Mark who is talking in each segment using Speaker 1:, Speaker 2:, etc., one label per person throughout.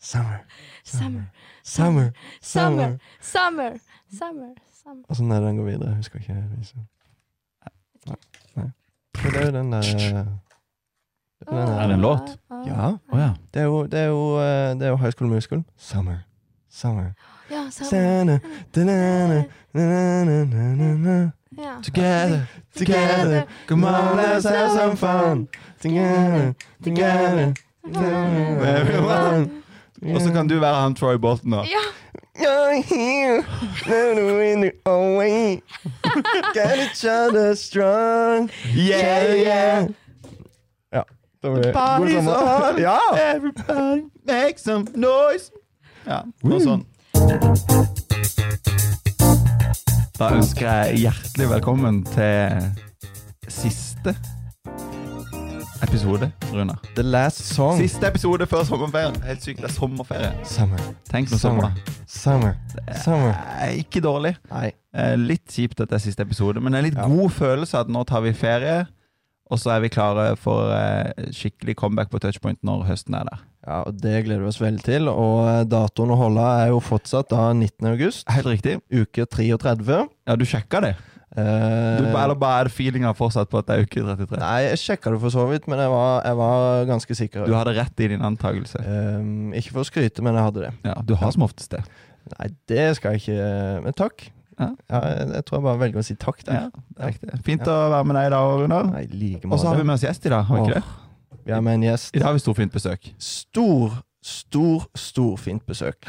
Speaker 1: Summer.
Speaker 2: Summer,
Speaker 1: Summer.
Speaker 2: summer, summer, summer. summer.
Speaker 1: Og så når den går videre, jeg husker ikke. Liksom. Nei. Nei. Men det er jo den der eh, det er den der-
Speaker 2: Ah,
Speaker 3: Er det en låt?
Speaker 2: ah, ah.
Speaker 1: Ja.
Speaker 3: Å ja.
Speaker 1: Det er jo, det er jo, eh, det er jo High School Musical. Summer. Summer.
Speaker 2: Ja, summer.
Speaker 1: Summer. Da-na-na, na-na-na-na-na.
Speaker 2: Ja.
Speaker 1: Together, together, come on, let's have some fun. Together, together, everyone.
Speaker 3: Og så kan du være han Troy Bolton, da.
Speaker 2: Ja.
Speaker 1: You're here, not in the away. Get each other strong. Yeah, yeah. Ja. Det var det. God
Speaker 3: Party's
Speaker 1: sommer.
Speaker 3: on.
Speaker 1: Ja.
Speaker 3: Everybody make some noise. Ja, noe sånn. Da ønsker jeg hjertelig velkommen til siste episode, Runar.
Speaker 1: The last song.
Speaker 3: Siste episode før sommerferien. Helt sykt, det er sommerferie.
Speaker 1: Summer,
Speaker 3: Tenk når
Speaker 1: summer,
Speaker 3: sommer.
Speaker 1: summer, summer.
Speaker 3: Eh, Ikke dårlig.
Speaker 1: Nei.
Speaker 3: Eh, Litt kjipt at det er siste episode, men en litt
Speaker 1: Ja.
Speaker 3: god følelse at nå tar vi ferie, og så er vi klare for eh, skikkelig comeback på touchpoint når høsten er der.
Speaker 1: Ja, og Det gleder vi oss veldig til. Og eh, datoen å holde er jo fortsatt da 19. august,
Speaker 3: Helt riktig.
Speaker 1: uke 33.
Speaker 3: Ja, du sjekka det?
Speaker 1: Eh,
Speaker 3: Du, eller bare er det feelinga fortsatt på at det er uke 33?
Speaker 1: Nei, jeg sjekka det for så vidt, men jeg var, jeg var ganske sikker.
Speaker 3: Du hadde rett i din antakelse.
Speaker 1: Ehm, ikke for å skryte, men jeg hadde det.
Speaker 3: Ja, du har som oftest det.
Speaker 1: Nei, det skal jeg ikke Men takk.
Speaker 3: Ja.
Speaker 1: jeg, jeg tror jeg bare velger å si takk der.
Speaker 3: Ja, det er riktig. Fint å være med deg i dag, Runar.
Speaker 1: Nei, like
Speaker 3: Og så har vi med oss gjest i dag. har vi ikke det?
Speaker 1: Vi har med en gjest.
Speaker 3: I dag har vi storfint besøk.
Speaker 1: Stor, stor, storfint besøk.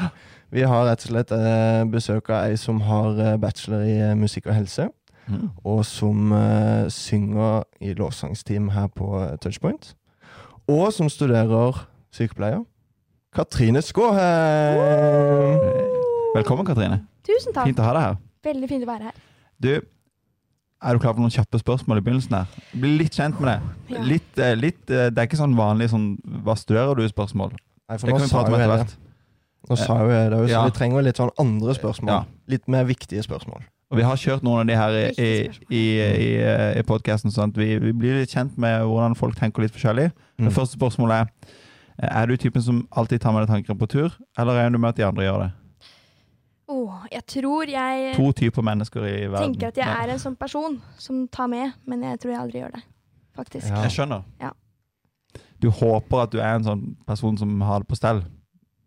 Speaker 1: Vi har rett og slett eh, besøk av ei som har eh, bachelor i eh, musikk og helse.
Speaker 3: Mm.
Speaker 1: og som eh, synger i lovsangsteam her på eh, Touchpoint. Og som studerer sykepleier. Katrine Skåheim!
Speaker 3: Velkommen, Katrine.
Speaker 2: Tusen takk.
Speaker 3: Fint å ha deg her.
Speaker 2: Veldig fint å være her.
Speaker 3: Du, er du klar for noen kjappe spørsmål i begynnelsen her? Bli litt kjent med deg.
Speaker 2: Ja.
Speaker 3: Litt, eh, litt, eh, det er ikke sånn vanlig sånn hva studerer du-spørsmål.
Speaker 1: Nei, for
Speaker 3: Det
Speaker 1: nå
Speaker 3: kan vi
Speaker 1: sa
Speaker 3: prate
Speaker 1: jo
Speaker 3: om
Speaker 1: jeg
Speaker 3: etter
Speaker 1: det.
Speaker 3: hvert.
Speaker 1: Nå sa jo jeg det, så
Speaker 3: Ja.
Speaker 1: vi trenger jo litt sånn andre spørsmål.
Speaker 3: Ja.
Speaker 1: Litt mer viktige spørsmål.
Speaker 3: Og vi har kjørt noen av de her i, i, i, i, i podkasten, sånn at vi, vi blir litt kjent med hvordan folk tenker litt forskjellig.
Speaker 1: Mm.
Speaker 3: Det første spørsmålet er Er du typen som alltid tar med deg tanker på tur, eller regner du med at de andre gjør det?
Speaker 2: Åh, jeg tror jeg
Speaker 3: To typer mennesker i verden.
Speaker 2: Eh, tenker at jeg er en sånn person som tar med, men jeg tror jeg aldri gjør det. Faktisk.
Speaker 1: Ja.
Speaker 3: Jeg skjønner.
Speaker 2: Ja.
Speaker 3: Du håper at du er en sånn person som har det på stell.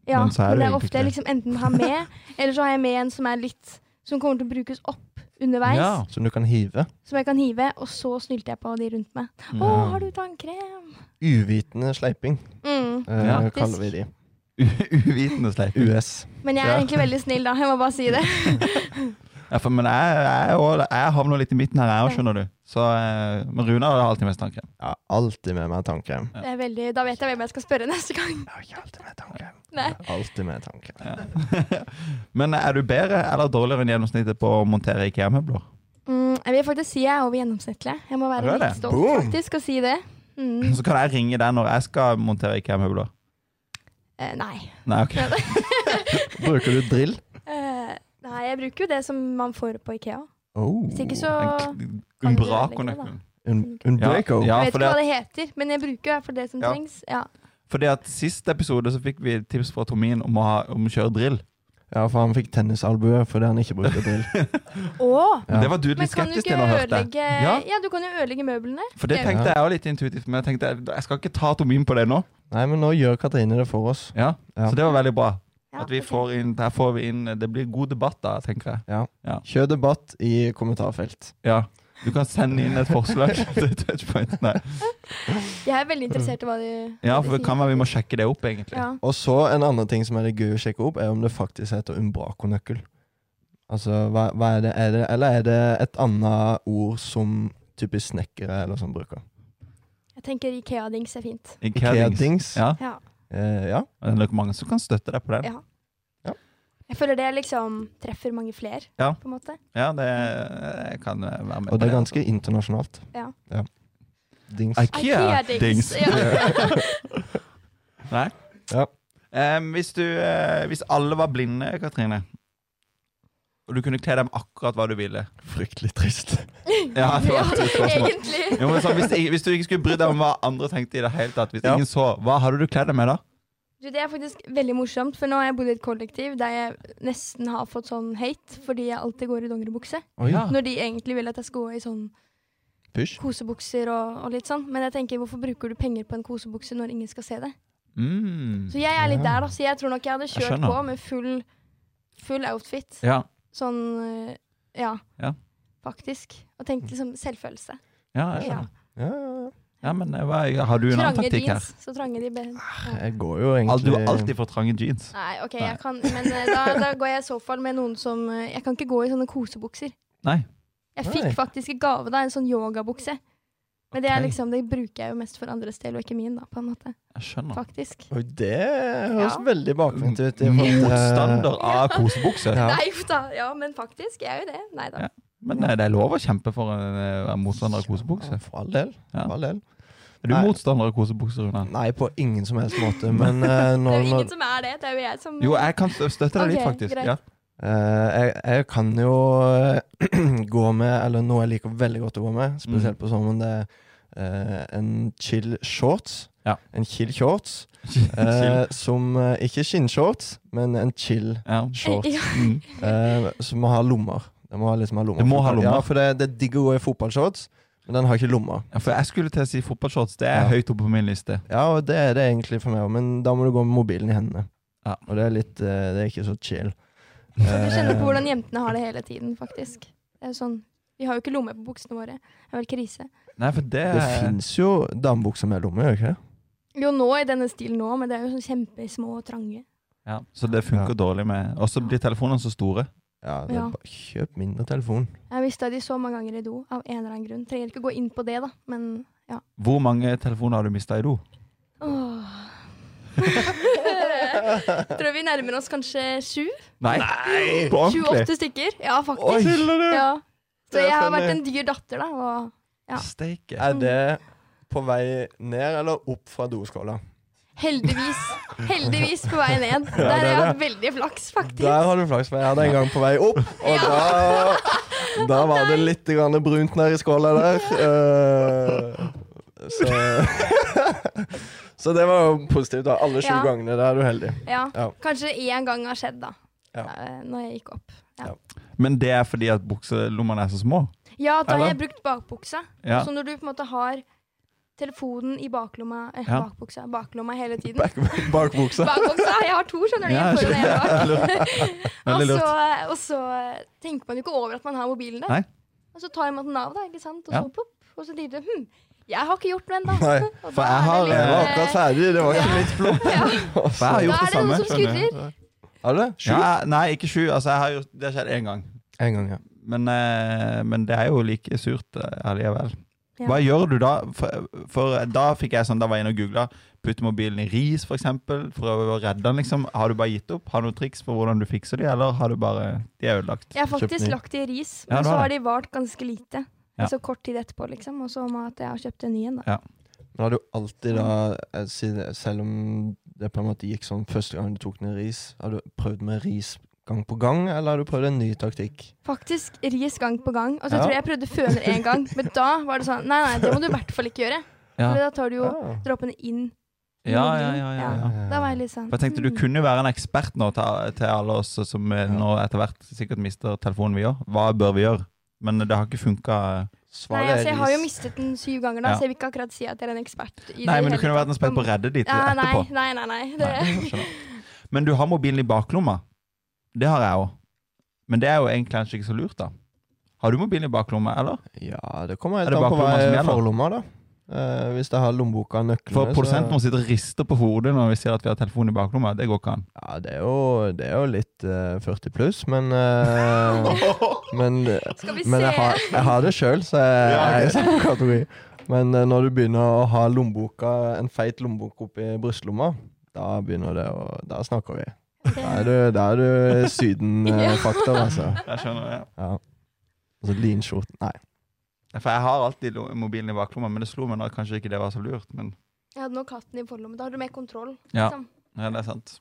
Speaker 2: Ja,
Speaker 3: Men
Speaker 2: men,
Speaker 3: så er det
Speaker 2: det er
Speaker 3: egentlig
Speaker 2: ofte jeg
Speaker 3: ikke det.
Speaker 2: liksom enten har med, eller så har jeg med en som er litt Som kommer til å brukes opp underveis.
Speaker 3: Ja.
Speaker 1: Som du kan hive.
Speaker 2: Som jeg kan hive, og så snylter jeg på de rundt meg. Å,
Speaker 3: Ja.
Speaker 2: har du tannkrem?
Speaker 1: Uvitende sleiping
Speaker 2: Mm.
Speaker 1: eh,
Speaker 3: Ja.
Speaker 1: kaller vi de.
Speaker 3: Uvitende sleip.
Speaker 1: US.
Speaker 2: Men jeg er
Speaker 3: Ja.
Speaker 2: egentlig veldig snill, da. Jeg må bare si det.
Speaker 3: Ja, for, men jeg, jeg, er også- jeg havner litt i midten her, jeg òg, skjønner du. Så, eh, men Runa har alltid mest tanker.
Speaker 1: Jeg har alltid med meg tannkrem.
Speaker 2: det er veldig, da vet jeg hvem jeg skal spørre neste gang.
Speaker 1: Jeg har ikke alltid med tannkrem.
Speaker 2: Nei.
Speaker 1: Jeg har alltid med tannkrem.
Speaker 3: Men er du bedre eller dårligere enn gjennomsnittet på å montere IKEA-møbler?
Speaker 2: Mm, jeg vil faktisk si jeg er over gjennomsnittlig. Jeg må være
Speaker 3: Er du det?
Speaker 2: litt stolt
Speaker 1: Boom!
Speaker 2: faktisk og si det. Mm.
Speaker 3: Så kan jeg ringe deg når jeg skal montere IKEA-møbler.
Speaker 2: Eh, nei.
Speaker 3: Nei, ok.
Speaker 1: Bruker du drill?
Speaker 2: Eh, nei, jeg bruker jo det som man får på Ikea.
Speaker 1: Oh.
Speaker 2: Hvis ikke så
Speaker 3: En k-
Speaker 2: kan du ødelegge
Speaker 3: Umbraco
Speaker 2: det, liksom, da?
Speaker 3: nøkkelen.
Speaker 1: Un unbreako?
Speaker 3: Ja,
Speaker 2: jeg vet
Speaker 3: fordi
Speaker 2: ikke hva det heter, men jeg bruker i hvert fall det som
Speaker 3: Ja.
Speaker 2: trengs. Ja.
Speaker 3: Fordi at sist episode så fikk vi tips fra Tomin om å, ha, om å kjøre drill.
Speaker 1: Ja, for han fikk tennisalbue fordi han ikke brukte drill.
Speaker 2: Å,
Speaker 3: Men
Speaker 1: Ja.
Speaker 3: det var du
Speaker 2: men
Speaker 3: litt
Speaker 2: kan du
Speaker 3: skeptisk
Speaker 2: ikke
Speaker 3: til når jeg hørte.
Speaker 2: ødelegge ja.
Speaker 3: Ja.
Speaker 2: du kan jo ødelegge møblene.
Speaker 3: For det tenkte jeg også litt intuitivt, men jeg tenkte jeg skal ikke ta Tomin på det nå.
Speaker 1: Nei, men nå gjør Katrine det for oss.
Speaker 3: Ja.
Speaker 1: Ja.
Speaker 3: Så det var veldig bra.
Speaker 2: Ja,
Speaker 3: At vi
Speaker 2: ok.
Speaker 3: får inn, der får vi inn Det blir god debatt da, tenker jeg.
Speaker 1: Kjør debatt i kommentarfelt.
Speaker 3: Ja. Du kan sende inn et forslag til touchpoint. Nei.
Speaker 2: Jeg er veldig interessert i hva du hva
Speaker 3: Ja,
Speaker 2: du
Speaker 3: for det
Speaker 2: sier.
Speaker 3: kan være vi må sjekke det opp, egentlig.
Speaker 2: ja.
Speaker 1: Og så en annen ting som er litt gøy å sjekke opp, er om det faktisk heter umbrakonøkkel. Altså, hva, hva er, det, er det Eller er det et annet ord som typisk snekkere eller sånn bruker?
Speaker 2: Jeg tenker Ikea-dings er fint.
Speaker 3: Ikea-dings.
Speaker 1: Ikea-dings.
Speaker 3: Ja.
Speaker 2: Ja.
Speaker 1: Eh, ja.
Speaker 3: Og Det er nok mange som kan støtte deg på den.
Speaker 2: Ja. Jeg føler det liksom treffer mange flere,
Speaker 3: Ja.
Speaker 2: på en måte.
Speaker 3: Ja, det jeg kan være med på
Speaker 1: Og det er ganske internasjonalt.
Speaker 2: Ja.
Speaker 1: Dings.
Speaker 3: Ikea-dings.
Speaker 2: Ja.
Speaker 3: Nei.
Speaker 1: Ja.
Speaker 3: Em, hvis, du, eh, hvis alle var blinde, Katrine, og du kunne kle dem akkurat hva du ville
Speaker 1: Fryktelig trist.
Speaker 3: Ja, det var et
Speaker 2: Ja,
Speaker 3: stort spørsmål.
Speaker 2: egentlig.
Speaker 3: Jo, men sånn, hvis, hvis du ikke skulle bry deg om hva andre tenkte i det hele tatt, hvis
Speaker 1: Ja.
Speaker 3: ingen så, hva hadde du kledd deg med da?
Speaker 2: Du, det er faktisk veldig morsomt, for nå har jeg bodd i et kollektiv der jeg nesten har fått sånn hate fordi jeg alltid går i dongeribukse.
Speaker 1: Oi,
Speaker 3: Ja.
Speaker 2: Når de egentlig vil at jeg skal gå i sånn
Speaker 1: Pysj.
Speaker 2: kosebukser og, og litt sånn. Men jeg tenker, hvorfor bruker du penger på en kosebukse når ingen skal se det?
Speaker 3: Mm.
Speaker 2: Så jeg er litt
Speaker 1: Ja.
Speaker 2: der, da. Så jeg tror nok jeg hadde
Speaker 3: Jeg
Speaker 2: kjørt
Speaker 3: skjønner.
Speaker 2: på med full, full outfit.
Speaker 3: Ja.
Speaker 2: Sånn øh, ja.
Speaker 3: Ja.
Speaker 2: Faktisk. Og tenkt liksom selvfølelse.
Speaker 3: ja, jeg
Speaker 2: Ja.
Speaker 3: skjønner.
Speaker 1: Ja, ja, ja.
Speaker 3: Ja, men eh, hva, har du en annen
Speaker 2: Trange
Speaker 3: taktikk her?
Speaker 2: jeans, så trange de ben.
Speaker 1: Jeg går jo
Speaker 3: Al-
Speaker 1: egentlig
Speaker 3: Du har alltid for trange jeans.
Speaker 2: Nei, OK,
Speaker 3: Nei.
Speaker 2: jeg kan Men eh, da, da går jeg i så fall med noen som eh, Jeg kan ikke gå i sånne kosebukser.
Speaker 3: Nei.
Speaker 2: Jeg
Speaker 1: Nei.
Speaker 2: fikk faktisk i gave da en sånn yogabukse. Men det er
Speaker 3: Ok.
Speaker 2: liksom, det bruker jeg jo mest for andres del, og ikke min, da, på en måte.
Speaker 3: Jeg skjønner.
Speaker 2: Faktisk.
Speaker 1: Oi, det høres
Speaker 2: Ja.
Speaker 1: veldig bakvendt ut. i forhold
Speaker 3: eh,
Speaker 1: til-
Speaker 3: Motstander av kosebukse.
Speaker 1: eh, Ja.
Speaker 2: Nei, uff da. Ja, men faktisk. Jeg er jo det. Nei da.
Speaker 3: Ja. Men eh, det er lov å kjempe for en eh, motstander av
Speaker 1: Ja,
Speaker 3: kosebukse.
Speaker 1: For all del.
Speaker 3: Ja.
Speaker 1: For all del.
Speaker 3: Er du
Speaker 1: Nei.
Speaker 3: motstander av kosebukse, Rune?
Speaker 1: Nei, på ingen som helst måte, men eh,
Speaker 2: Det
Speaker 1: når,
Speaker 2: er jo
Speaker 1: når
Speaker 2: ingen som er det. Det er jo jeg som
Speaker 3: Jo, jeg kan stø- støtte deg litt,
Speaker 2: Ok,
Speaker 3: faktisk.
Speaker 2: greit.
Speaker 3: Ja.
Speaker 1: Eh, jeg, jeg kan jo eh, gå med, eller noe jeg liker veldig godt å gå med, spesielt
Speaker 3: Mhm.
Speaker 1: på sommeren, det er eh, en chill shorts.
Speaker 3: Ja.
Speaker 1: En chill shorts.
Speaker 3: Chill.
Speaker 1: eh, som eh, Ikke skinnshorts, men en chill
Speaker 3: Ja.
Speaker 1: shorts.
Speaker 2: Ja,
Speaker 3: Mm.
Speaker 1: eh, som må ha lommer. Det må ha liksom ha lommer.
Speaker 3: Det må ha lommer.
Speaker 1: Ja, for det, det er digg å gå i fotballshorts, men den har ikke lommer.
Speaker 3: Ja, for jeg skulle til å si fotballshorts. Det er
Speaker 1: Ja.
Speaker 3: høyt oppe på min liste.
Speaker 1: Ja, og det er det egentlig for meg òg, men da må du gå med mobilen i hendene.
Speaker 3: Ja.
Speaker 1: Og det er litt eh, Det er ikke så chill.
Speaker 2: Du kjenner på
Speaker 1: Eh,
Speaker 2: hvordan jentene har det hele tiden, faktisk. Det er jo sånn, Vi har jo ikke lommer på buksene våre. Det er vel krise.
Speaker 3: Nei, for det,
Speaker 1: det fins jo damebukser med lommer, gjør det ikke det?
Speaker 2: Jo, nå i denne stilen nå, men det er jo sånn kjempesmå og trange.
Speaker 3: ja, Så det funker dårlig med Og så blir telefonene så store.
Speaker 1: Ja, det er
Speaker 2: Ja.
Speaker 1: Bare, kjøp mindre telefon.
Speaker 2: Jeg mista de så mange ganger i do av en eller annen grunn. Trenger ikke gå inn på det, da, men ja.
Speaker 3: Hvor mange telefoner har du mista i do?
Speaker 2: Åh. Tror vi nærmer oss kanskje sju?
Speaker 3: Nei! På ordentlig?
Speaker 2: 28 stykker? Ja,
Speaker 1: Oi.
Speaker 2: faktisk.
Speaker 3: Tuller du?
Speaker 2: Ja.
Speaker 1: Det
Speaker 2: Så
Speaker 1: er
Speaker 2: jeg har
Speaker 1: funny.
Speaker 2: vært en dyr datter, da. Og Ja.
Speaker 3: Steike.
Speaker 1: Er det på vei ned eller opp fra doskåla?
Speaker 2: heldigvis, heldigvis på vei ned. Der har jeg hatt veldig flaks, faktisk.
Speaker 1: Der har du flaks, for jeg hadde en gang på vei opp, og da, da var det litt grann brunt nedi skåla der. Eh, så, så det var jo positivt. da Alle sju
Speaker 2: Ja.
Speaker 1: gangene. Da er du heldig.
Speaker 2: Ja.
Speaker 1: Ja.
Speaker 2: Kanskje én gang har skjedd, da.
Speaker 1: Ja.
Speaker 2: Eh, Når jeg gikk opp.
Speaker 3: Men det er fordi at bukselommene er så små?
Speaker 2: Ja, da har
Speaker 3: Eller?
Speaker 2: jeg brukt bakbuksa.
Speaker 3: Ja.
Speaker 2: Så når du på en måte har telefonen i baklomma eh,
Speaker 3: Ja.
Speaker 2: bakbuksa, baklomma hele tiden
Speaker 1: Bak, bak buksa.
Speaker 2: Bakbuksa! Jeg har to, skjønner du.
Speaker 3: Ja,
Speaker 2: en foran og en bak. Og så,
Speaker 3: Veldig lurt.
Speaker 2: og så eh, tenker man jo ikke over at man har mobilen der.
Speaker 3: Nei.
Speaker 2: Og så tar man den av, da, ikke sant? og
Speaker 3: Ja.
Speaker 2: så plopp. Og så tenker du hm, jeg har ikke gjort noe ennå.
Speaker 1: Nei,
Speaker 2: Og
Speaker 3: for
Speaker 2: da
Speaker 3: jeg har-
Speaker 2: er det
Speaker 1: jeg var
Speaker 2: litt,
Speaker 1: akkurat ferdig. Det var ikke mitt flopp.
Speaker 2: eh, ja.
Speaker 3: For jeg har
Speaker 2: Da
Speaker 3: gjort
Speaker 2: er
Speaker 3: det
Speaker 2: det
Speaker 3: samme.
Speaker 2: noe som
Speaker 3: skjønner du.
Speaker 2: skurrer.
Speaker 1: Har du det? Sju?
Speaker 3: Ja, jeg- nei, ikke sju. Altså, jeg har gjort, det har skjedd én gang.
Speaker 1: En gang, ja.
Speaker 3: Men, eh, men det er jo like surt eh, allikevel.
Speaker 2: Ja.
Speaker 3: Hva gjør du da? For, for da fikk jeg sånn, da var jeg inne og googla. Putte mobilen i ris, f.eks. Prøve å redde den. liksom. Har du bare gitt opp? Har du noen triks for hvordan du fikser de, eller har du bare De er ødelagt.
Speaker 2: Jeg har
Speaker 1: Kjøpt ny.
Speaker 2: faktisk lagt i ris,
Speaker 3: Ja,
Speaker 2: men
Speaker 3: du
Speaker 2: så
Speaker 3: har
Speaker 2: har de vart ganske lite.
Speaker 3: Ja.
Speaker 2: Altså kort tid etterpå, liksom. Og så må jeg at jeg har kjøpt en ny en, da.
Speaker 1: Men har du alltid da, eh, siden- selv om det på en måte gikk sånn første gang du tok ned ris, har du prøvd med ris gang på gang, eller har du prøvd en ny taktikk?
Speaker 2: Faktisk ris gang på gang. Og så
Speaker 1: Ja.
Speaker 2: tror jeg jeg prøvde føner én gang, men da var det sånn Nei, nei, det må du i hvert fall ikke gjøre.
Speaker 3: Ja.
Speaker 2: For da tar du jo
Speaker 1: Ah.
Speaker 2: dråpene inn.
Speaker 3: Ja, ja, ja, ja, ja.
Speaker 2: Da var jeg litt sånn
Speaker 3: For jeg tenkte Du
Speaker 2: hmm.
Speaker 3: kunne jo være en ekspert nå til, til alle oss som eh, nå etter hvert sikkert mister telefonen vi òg. Hva bør vi gjøre? Men det har ikke eh. funka.
Speaker 2: Nei,
Speaker 1: Svaret
Speaker 2: altså, jeg har jo
Speaker 1: ris.
Speaker 2: mistet den syv ganger, da,
Speaker 3: Ja.
Speaker 2: så jeg vil ikke akkurat si at jeg er en ekspert. I
Speaker 3: Nei,
Speaker 2: det
Speaker 3: men du
Speaker 2: hele
Speaker 3: kunne
Speaker 2: tatt.
Speaker 3: vært en spent på å redde de til
Speaker 2: ja, nei,
Speaker 3: etterpå.
Speaker 2: nei, nei, nei. Det,
Speaker 3: Nei, jeg skjønner. Men du har mobilen i baklomma. Det har jeg òg. Men det er jo egentlig kanskje ikke så lurt, da. Har du mobilen i baklomma, eller?
Speaker 1: Ja, det kommer
Speaker 3: Er
Speaker 1: helt
Speaker 3: det
Speaker 1: an på hva
Speaker 3: baklomma som
Speaker 1: er
Speaker 3: gjelder?
Speaker 1: forlomma, da. Eh, hvis jeg har lommeboka og nøklene
Speaker 3: For
Speaker 1: så-
Speaker 3: produsenten vår sitter og rister på hodet når vi sier at vi har telefonen i baklomma. Det går ikke an.
Speaker 1: Ja, det er jo, det er jo litt eh, 40 pluss, men eh, Men,
Speaker 2: skal vi se.
Speaker 1: men jeg, har, jeg har det sjøl, så jeg,
Speaker 3: Ja,
Speaker 1: jeg er i samme kategori. Men eh, når du begynner å ha lommeboka, en feit lommebok oppi brystlomma, da begynner det å Da snakker vi. Da er du, da er du Syden-faktor, altså.
Speaker 3: Jeg skjønner det.
Speaker 1: Ja. Altså linskjorten Nei.
Speaker 3: For jeg har alltid lo- mobilen i baklomma, men det slo meg nå at kanskje ikke det var så lurt. Men
Speaker 2: Jeg hadde nå katten i forlommen. Da har du mer kontroll.
Speaker 3: Ja.
Speaker 2: Liksom.
Speaker 3: ja, det er sant.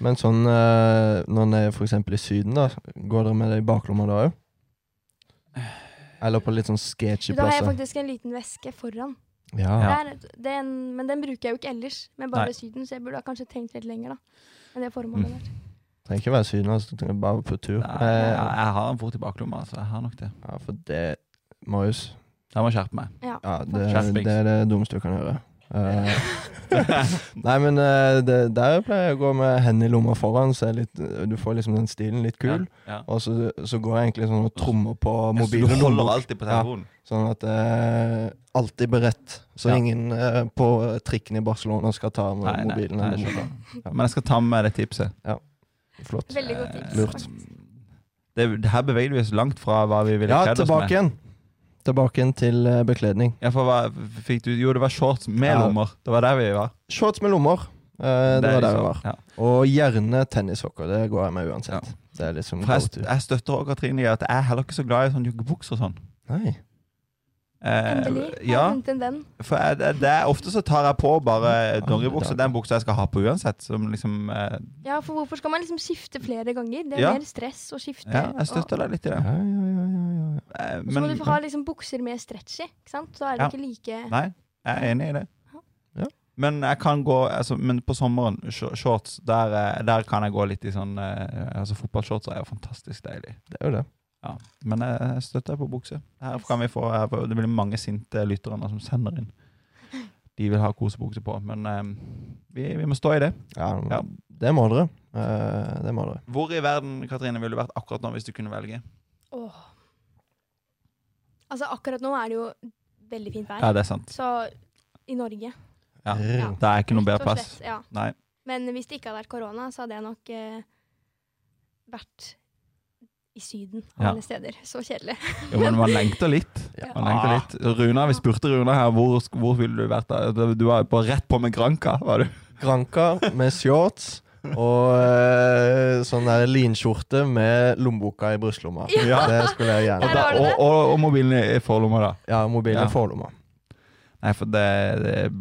Speaker 1: Men sånn eh, når dere er for eksempel i Syden, da, går dere med det i baklomma da òg? Eller på litt sånn sketchy
Speaker 2: Da har jeg
Speaker 1: plasser?
Speaker 2: faktisk en liten veske foran.
Speaker 1: Ja.
Speaker 3: Ja.
Speaker 2: Det er, den, men den bruker jeg jo ikke ellers, men bare
Speaker 3: Nei.
Speaker 2: Syden, så jeg burde ha kanskje tenkt litt lenger da, enn det formålet
Speaker 3: Mm.
Speaker 2: der.
Speaker 1: Trenger ikke være syden, altså. Du trenger bare på tur.
Speaker 3: Nei,
Speaker 1: Eh,
Speaker 3: jeg, jeg har den fort i baklomma, så jeg har nok det.
Speaker 1: ja, for det Marius,
Speaker 3: Jeg må skjerpe meg.
Speaker 2: Ja.
Speaker 1: ja, det,
Speaker 3: Skjerpings.
Speaker 1: det er det dummeste du kan gjøre. Eh, nei, men eh, det, der pleier jeg å gå med hendene i lomma foran, så er litt, du får liksom den stilen litt kul.
Speaker 3: Ja.
Speaker 1: Og så, så går jeg egentlig sånn og trommer på
Speaker 3: Mobilen
Speaker 1: mobilen.
Speaker 3: du holder alltid på telefonen.
Speaker 1: Sånn at eh, alltid beredt, så
Speaker 3: Ja.
Speaker 1: ingen eh, på trikken i Barcelona skal ta med
Speaker 3: Nei, nei,
Speaker 1: mobilen.
Speaker 3: nei,
Speaker 1: eller
Speaker 3: jeg
Speaker 1: mobilen.
Speaker 3: skjønner. Men jeg skal ta med meg det tipset.
Speaker 1: Flott.
Speaker 2: Veldig godt
Speaker 3: Eh,
Speaker 2: tips.
Speaker 1: Lurt.
Speaker 2: faktisk.
Speaker 3: Det, det her beveger vi oss langt fra hva vi ville
Speaker 1: Ja,
Speaker 3: kledd oss
Speaker 1: tilbake
Speaker 3: med.
Speaker 1: igjen. Tilbake igjen til eh, bekledning.
Speaker 3: Ja, for hva, fikk du, jo, det var shorts med
Speaker 1: Ja.
Speaker 3: lommer. Det var der vi var.
Speaker 1: Shorts med lommer. Eh, det var der vi var.
Speaker 3: Ja.
Speaker 1: Og gjerne tennissokker. Det går jeg med uansett. Det er liksom
Speaker 3: For jeg,
Speaker 1: go to.
Speaker 3: jeg støtter også Katrine i at jeg er heller ikke så glad i sånn joggebukser og sånn.
Speaker 1: Nei.
Speaker 3: Eh,
Speaker 2: Endelig har jeg
Speaker 3: ja,
Speaker 2: funnet en venn.
Speaker 3: for jeg, det- det er ofte så tar jeg på bare dongeribuksa.
Speaker 1: det er-
Speaker 3: Den buksa jeg skal ha på uansett. Som liksom eh,
Speaker 2: Ja, for hvorfor skal man liksom skifte flere ganger? Det er
Speaker 3: Ja.
Speaker 2: mer stress å skifte.
Speaker 3: Ja, jeg
Speaker 2: og-
Speaker 3: støtter deg litt i
Speaker 1: Ja,
Speaker 3: det.
Speaker 1: ja, ja, ja, ja, ja.
Speaker 3: Eh,
Speaker 2: Og så må
Speaker 3: Men
Speaker 2: du få ha liksom bukser med stretch i, ikke sant? Så er det
Speaker 3: Ja.
Speaker 2: ikke like...
Speaker 3: Nei, jeg er enig i det.
Speaker 1: Ja.
Speaker 3: Men jeg kan gå altså, Men på sommeren, sh- shorts, der, eh, der kan jeg gå litt i sånn eh, Altså Fotballshorts er jo fantastisk deilig.
Speaker 1: Det er jo det.
Speaker 3: Ja. Men jeg jeg støtter på bukse. Her kan vi få, her, får- det blir mange sinte lyttere nå som sender inn. De vil ha kosebukse på, men eh, vi, vi må stå i det.
Speaker 1: Ja,
Speaker 3: Ja.
Speaker 1: Det må dere. Eh, det må dere.
Speaker 3: Hvor i verden Katrine, ville du vært akkurat nå hvis du kunne velge?
Speaker 2: Åh. Altså, akkurat nå er det jo veldig fint vær.
Speaker 3: Ja, det er sant.
Speaker 2: Så i Norge.
Speaker 3: Ja.
Speaker 1: Ja.
Speaker 3: Det er ikke noen
Speaker 2: rett
Speaker 3: bedre
Speaker 2: og
Speaker 3: plass.
Speaker 2: slett, Ja.
Speaker 3: Nei.
Speaker 2: Men hvis det ikke hadde vært korona, så hadde jeg nok eh, vært i Syden
Speaker 3: Ja.
Speaker 2: alle steder. Så kjedelig.
Speaker 3: Jo, men man lengter litt.
Speaker 1: Ja.
Speaker 3: Man lengter litt. Runa, vi spurte Runa her hvor, hvor ville du vært da. Du var på rett på med Granka, var du?
Speaker 1: Granka med shorts og eh, sånn der linskjorte med lommeboka i brystlomma.
Speaker 3: Ja.
Speaker 1: Det skulle jeg
Speaker 3: Og,
Speaker 1: gjerne.
Speaker 3: da,
Speaker 2: har du
Speaker 3: og,
Speaker 2: det.
Speaker 3: og, og mobilen i forlomma, da.
Speaker 1: Ja, mobilen
Speaker 3: Ja.
Speaker 1: i forlomma.
Speaker 3: Nei, for det, det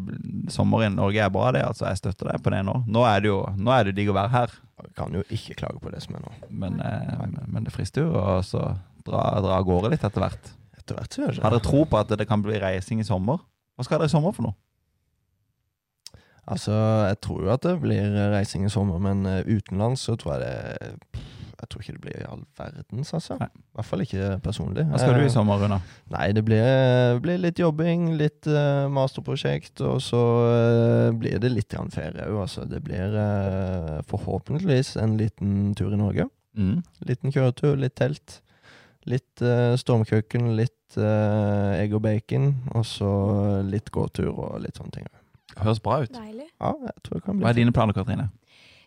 Speaker 3: Sommer i Norge er bra, det. Altså, jeg støtter deg på det nå. Nå er det jo nå er det digg å være her,
Speaker 1: Vi kan jo ikke klage på det som er nå.
Speaker 3: men, eh, men- men det frister jo å så dra, dra av gårde litt etter hvert.
Speaker 1: Etter hvert så gjør
Speaker 3: Har
Speaker 1: det
Speaker 3: dere tro på at det kan bli reising i sommer? Hva skal dere i sommer for noe?
Speaker 1: Altså, jeg tror jo at det blir reising i sommer, men eh, utenlands så tror jeg det Jeg tror ikke det blir i all verdens, altså.
Speaker 3: Nei.
Speaker 1: I hvert fall ikke personlig.
Speaker 3: Hva skal du
Speaker 1: Eh,
Speaker 3: i sommer, Runa?
Speaker 1: Nei, det blir, blir litt jobbing, litt eh, masterprosjekt, og så eh, blir det litt grann ferie òg, altså. Det blir eh, forhåpentligvis en liten tur i Norge.
Speaker 3: Mm.
Speaker 1: Liten kjøretur, litt telt. Litt eh, stormkjøkken, litt eh, egg og bacon, og så litt gåtur og litt sånne ting.
Speaker 3: Høres bra ut.
Speaker 2: Deilig.
Speaker 1: Ja, jeg tror det kan
Speaker 3: Hva
Speaker 1: bli
Speaker 3: er dine planer, Katrine?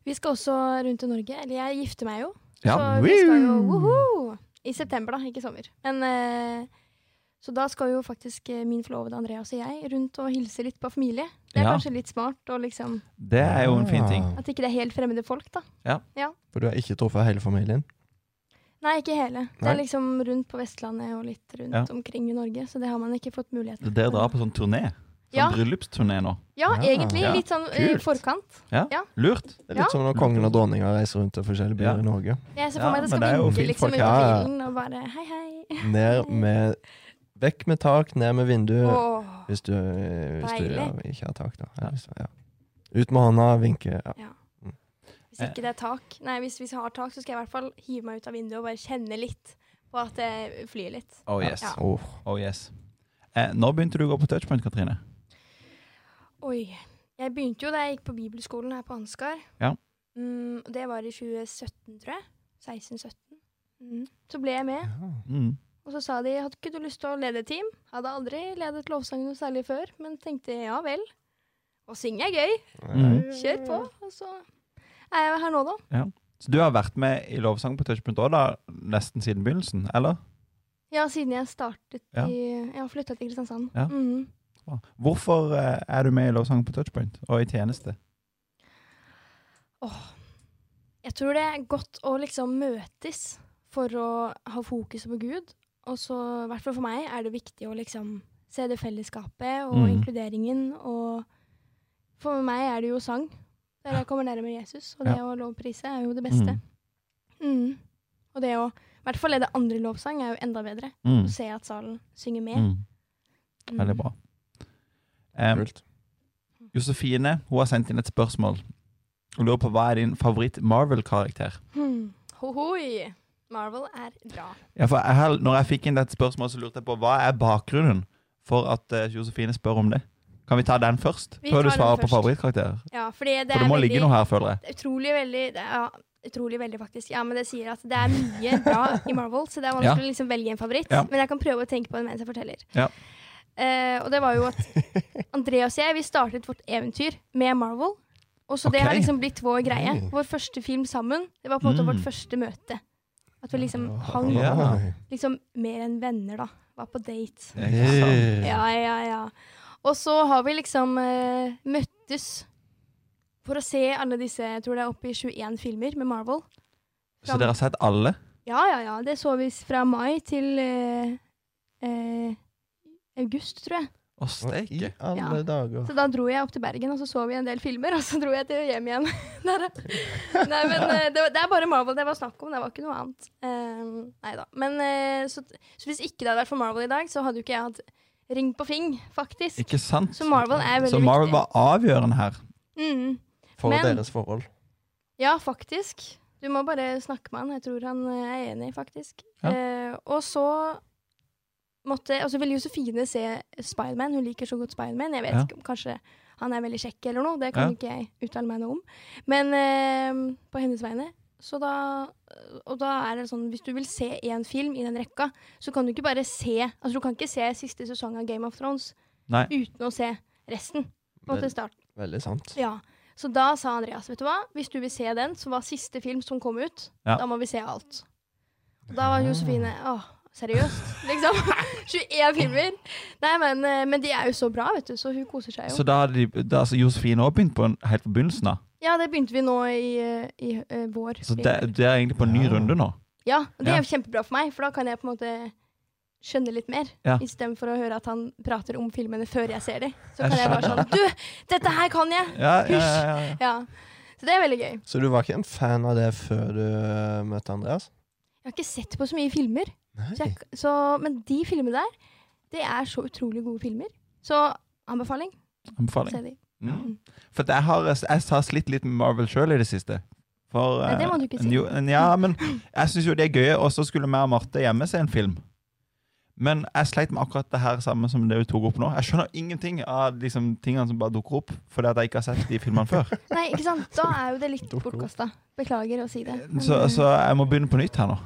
Speaker 2: Vi skal også rundt i Norge. Eller jeg gifter meg jo.
Speaker 3: Ja.
Speaker 2: Så vi skal jo woho! I september, da. Ikke i sommer. Men eh, så da skal jo faktisk eh, min forlovede Andreas og jeg rundt og hilse litt på familie. Det er
Speaker 3: Ja.
Speaker 2: kanskje litt smart å liksom
Speaker 3: Det er jo en fin ting.
Speaker 1: Ah,
Speaker 2: At ikke det er helt fremmede folk, da.
Speaker 1: For du har ikke truffet hele familien?
Speaker 2: Nei, ikke hele. Det
Speaker 1: Nei.
Speaker 2: er liksom rundt på Vestlandet og litt rundt
Speaker 3: Ja.
Speaker 2: omkring i Norge. Så det har man ikke fått mulighet til.
Speaker 3: Dere drar på sånn turné. Sånn
Speaker 2: Ja.
Speaker 3: bryllupsturné nå.
Speaker 2: Ja,
Speaker 1: Ah,
Speaker 2: egentlig.
Speaker 3: ja.
Speaker 2: Litt sånn i
Speaker 1: Kult.
Speaker 2: forkant.
Speaker 3: Lurt.
Speaker 1: Det er litt
Speaker 2: Ja.
Speaker 1: som når kongen og dronninga reiser rundt til forskjellige byer
Speaker 3: Ja.
Speaker 1: i Norge.
Speaker 2: Jeg ser
Speaker 3: Ja,
Speaker 2: for meg det skal
Speaker 3: men det er jo
Speaker 2: vinke
Speaker 3: fint
Speaker 2: liksom
Speaker 3: folk,
Speaker 2: ut
Speaker 1: ja,
Speaker 2: av
Speaker 1: ja.
Speaker 2: bilen og bare hei, hei.
Speaker 1: Ned med Vekk med tak, ned med vindu.
Speaker 2: Åh.
Speaker 1: Hvis du, eh, hvis du
Speaker 2: Deilig.
Speaker 1: ja, ikke har tak, da.
Speaker 3: Ja.
Speaker 1: Ja. Hvis, ja. Ut med hånda, vinke. Ja.
Speaker 2: Hvis ikke det er tak Nei, hvis vi har tak, så skal jeg i hvert fall hive meg ut av vinduet og bare kjenne litt på at det flyr litt.
Speaker 3: Oh yes.
Speaker 2: Ja.
Speaker 1: Åh.
Speaker 3: Oh yes. Eh, når begynte du å gå på touchpoint, Katrine?
Speaker 2: Oi. Jeg begynte jo da jeg gikk på bibelskolen her på Ansgar.
Speaker 3: Ja.
Speaker 2: Mm, og det var i 2017, tror jeg. 16-17. Mm. Så ble jeg med.
Speaker 3: Mm.
Speaker 2: Og så sa de hadde ikke du lyst til å lede et team? Hadde aldri ledet lovsang noe særlig før, men tenkte ja vel. Å synge er gøy.
Speaker 3: Mm.
Speaker 2: Kjør på. Og så er jeg her nå, da.
Speaker 3: Så du har vært med i lovsang på touchpoint òg, da? Nesten siden begynnelsen, eller?
Speaker 2: Ja, siden jeg startet
Speaker 3: Ja.
Speaker 2: i Jeg har flytta til Kristiansand.
Speaker 3: Ja.
Speaker 2: Mhm.
Speaker 3: Bra. Hvorfor eh, er du med i lovsang på touchpoint og i tjeneste?
Speaker 2: Jeg tror det er godt å liksom møtes for å ha fokuset på Gud. Og så, i hvert fall for meg, er det viktig å liksom se det fellesskapet og
Speaker 3: Mhm.
Speaker 2: inkluderingen. Og for meg er det jo sang. Der jeg kommer nærmere Jesus. Og det å lovprise er jo det beste. Mm. Og det å i hvert fall lede andre lovsang er jo enda bedre.
Speaker 3: Mm.
Speaker 2: Å se at salen synger med.
Speaker 3: Mm. Veldig bra. Um,
Speaker 1: Kult.
Speaker 3: Josefine hun har sendt inn et spørsmål. Hun lurer på hva er din favoritt-Marvel-karakter?
Speaker 2: Hmm. Hohoi! Marvel er bra.
Speaker 3: Ja, for jeg, har- når jeg fikk inn dette spørsmålet, så lurte jeg på hva er bakgrunnen for at eh, Josefine spør om det? Kan vi ta den først?
Speaker 2: Vi
Speaker 3: Før du
Speaker 2: tar den
Speaker 3: svarer på
Speaker 2: først.
Speaker 3: favorittkarakterer.
Speaker 2: Ja, fordi det
Speaker 3: For det må
Speaker 2: er
Speaker 3: ligge
Speaker 2: veldig
Speaker 3: noe her, føler jeg.
Speaker 2: Det er utrolig veldig det er, ja, Utrolig veldig, faktisk. Ja, men det sier at det er mye bra i Marvel, så det er vanskelig å liksom velge en favoritt.
Speaker 3: Ja.
Speaker 2: Men jeg kan prøve å tenke på den mens jeg forteller.
Speaker 3: Ja.
Speaker 2: Eh, og det var jo at Andreas og jeg vi startet vårt eventyr med Marvel. Og så det
Speaker 3: Ok.
Speaker 2: har liksom blitt vår greie.
Speaker 1: Oi.
Speaker 2: Vår første film sammen. Det var på en måte
Speaker 3: Mm.
Speaker 2: vårt første møte. At vi liksom hang
Speaker 3: Ja.
Speaker 2: liksom mer enn venner, da. Var på date.
Speaker 3: Ikke sant?
Speaker 2: Ja, ja, ja. Og så har vi liksom eh, møttes for å se alle disse, jeg tror det er oppe i 21 filmer med Marvel.
Speaker 3: Så dere har sett alle?
Speaker 2: Ja, ja, ja. Det så vi fra mai til eh, eh, august, tror jeg.
Speaker 3: Å,
Speaker 1: I
Speaker 3: steike.
Speaker 1: alle
Speaker 2: Ja.
Speaker 1: dager.
Speaker 2: Så da dro jeg opp til Bergen, og så så vi en del filmer, og så dro jeg til hjem igjen. Der, ja. nei, men eh, det, var- det er bare Marvel det var snakk om, det var ikke noe annet. Uh, nei da. Men eh, så, så hvis ikke det hadde vært for Marvel i dag, så hadde jo ikke jeg hatt ring på fing, faktisk.
Speaker 3: Ikke sant?
Speaker 2: Så Marvel er veldig
Speaker 3: Så Marvel
Speaker 2: viktig.
Speaker 3: var avgjørende her.
Speaker 2: Mm.
Speaker 1: For
Speaker 2: Men-
Speaker 1: deres forhold.
Speaker 2: Ja, faktisk. Du må bare snakke med han. Jeg tror han eh, er enig, faktisk.
Speaker 3: Ja.
Speaker 2: Eh, og så måtte Og så ville Josefine se Spiderman. Hun liker så godt Spiderman. Jeg vet
Speaker 3: Ja.
Speaker 2: ikke om kanskje han er veldig kjekk eller noe. Det kan
Speaker 3: Ja.
Speaker 2: ikke jeg uttale meg noe om. Men eh, på hennes vegne. Så da Og da er det sånn hvis du vil se én film i den rekka, så kan du ikke bare se Altså du kan ikke se siste sesong av Game of Thrones
Speaker 3: Nei.
Speaker 2: uten å se resten. På en måte start.
Speaker 1: Veldig sant.
Speaker 2: Ja, så da sa Andreas, vet du hva, hvis du vil se den, som var siste film som kom ut,
Speaker 3: Ja.
Speaker 2: da må vi se alt. Og da var Josefine, åh, seriøst, liksom. 21 filmer. Nei, men, eh, men de er jo så bra, vet du, så hun koser seg jo.
Speaker 3: Så da hadde de, da, så Josefine òg begynt på en, helt på begynnelsen av.
Speaker 2: Ja, det begynte vi nå i, eh, i eh, vår.
Speaker 3: Så det, det er egentlig på en ny
Speaker 1: Ja.
Speaker 3: runde nå.
Speaker 2: Ja, og det er jo kjempebra for meg, for da kan jeg på en måte skjønne litt mer,
Speaker 3: Ja.
Speaker 2: i stedet for å høre at han prater om filmene før jeg ser dem. Så
Speaker 3: Jeg
Speaker 2: kan jeg bare sånn, du, dette her kan jeg!
Speaker 3: Ja, ja, ja, ja.
Speaker 2: Ja, så det er veldig gøy.
Speaker 1: Så du var ikke en fan av det før du eh, møtte Andreas?
Speaker 2: Jeg har ikke sett på så mye filmer, Så
Speaker 1: Nei.
Speaker 2: jeg, så, men de filmene der, det er så utrolig gode filmer. Så anbefaling.
Speaker 3: Anbefaling.
Speaker 2: Se de.
Speaker 3: Mm. For at jeg har, jeg har slitt litt med Marvel sjøl i det siste. For,
Speaker 2: Nei, det må
Speaker 3: eh,
Speaker 2: du ikke si.
Speaker 3: Jo, ja, men jeg syns jo det er gøy. Og så skulle vi og Marte hjemme se en film. Men jeg sleit med akkurat det her samme som det du tok opp nå. Jeg skjønner ingenting av liksom, tingene som bare dukker opp, fordi at jeg ikke har sett de filmene før.
Speaker 2: Nei, ikke sant? Da er jo det litt
Speaker 1: Dukker opp.
Speaker 2: bortkasta. Beklager å si det. Men,
Speaker 3: Så,
Speaker 2: eh,
Speaker 3: så jeg må begynne på nytt her nå.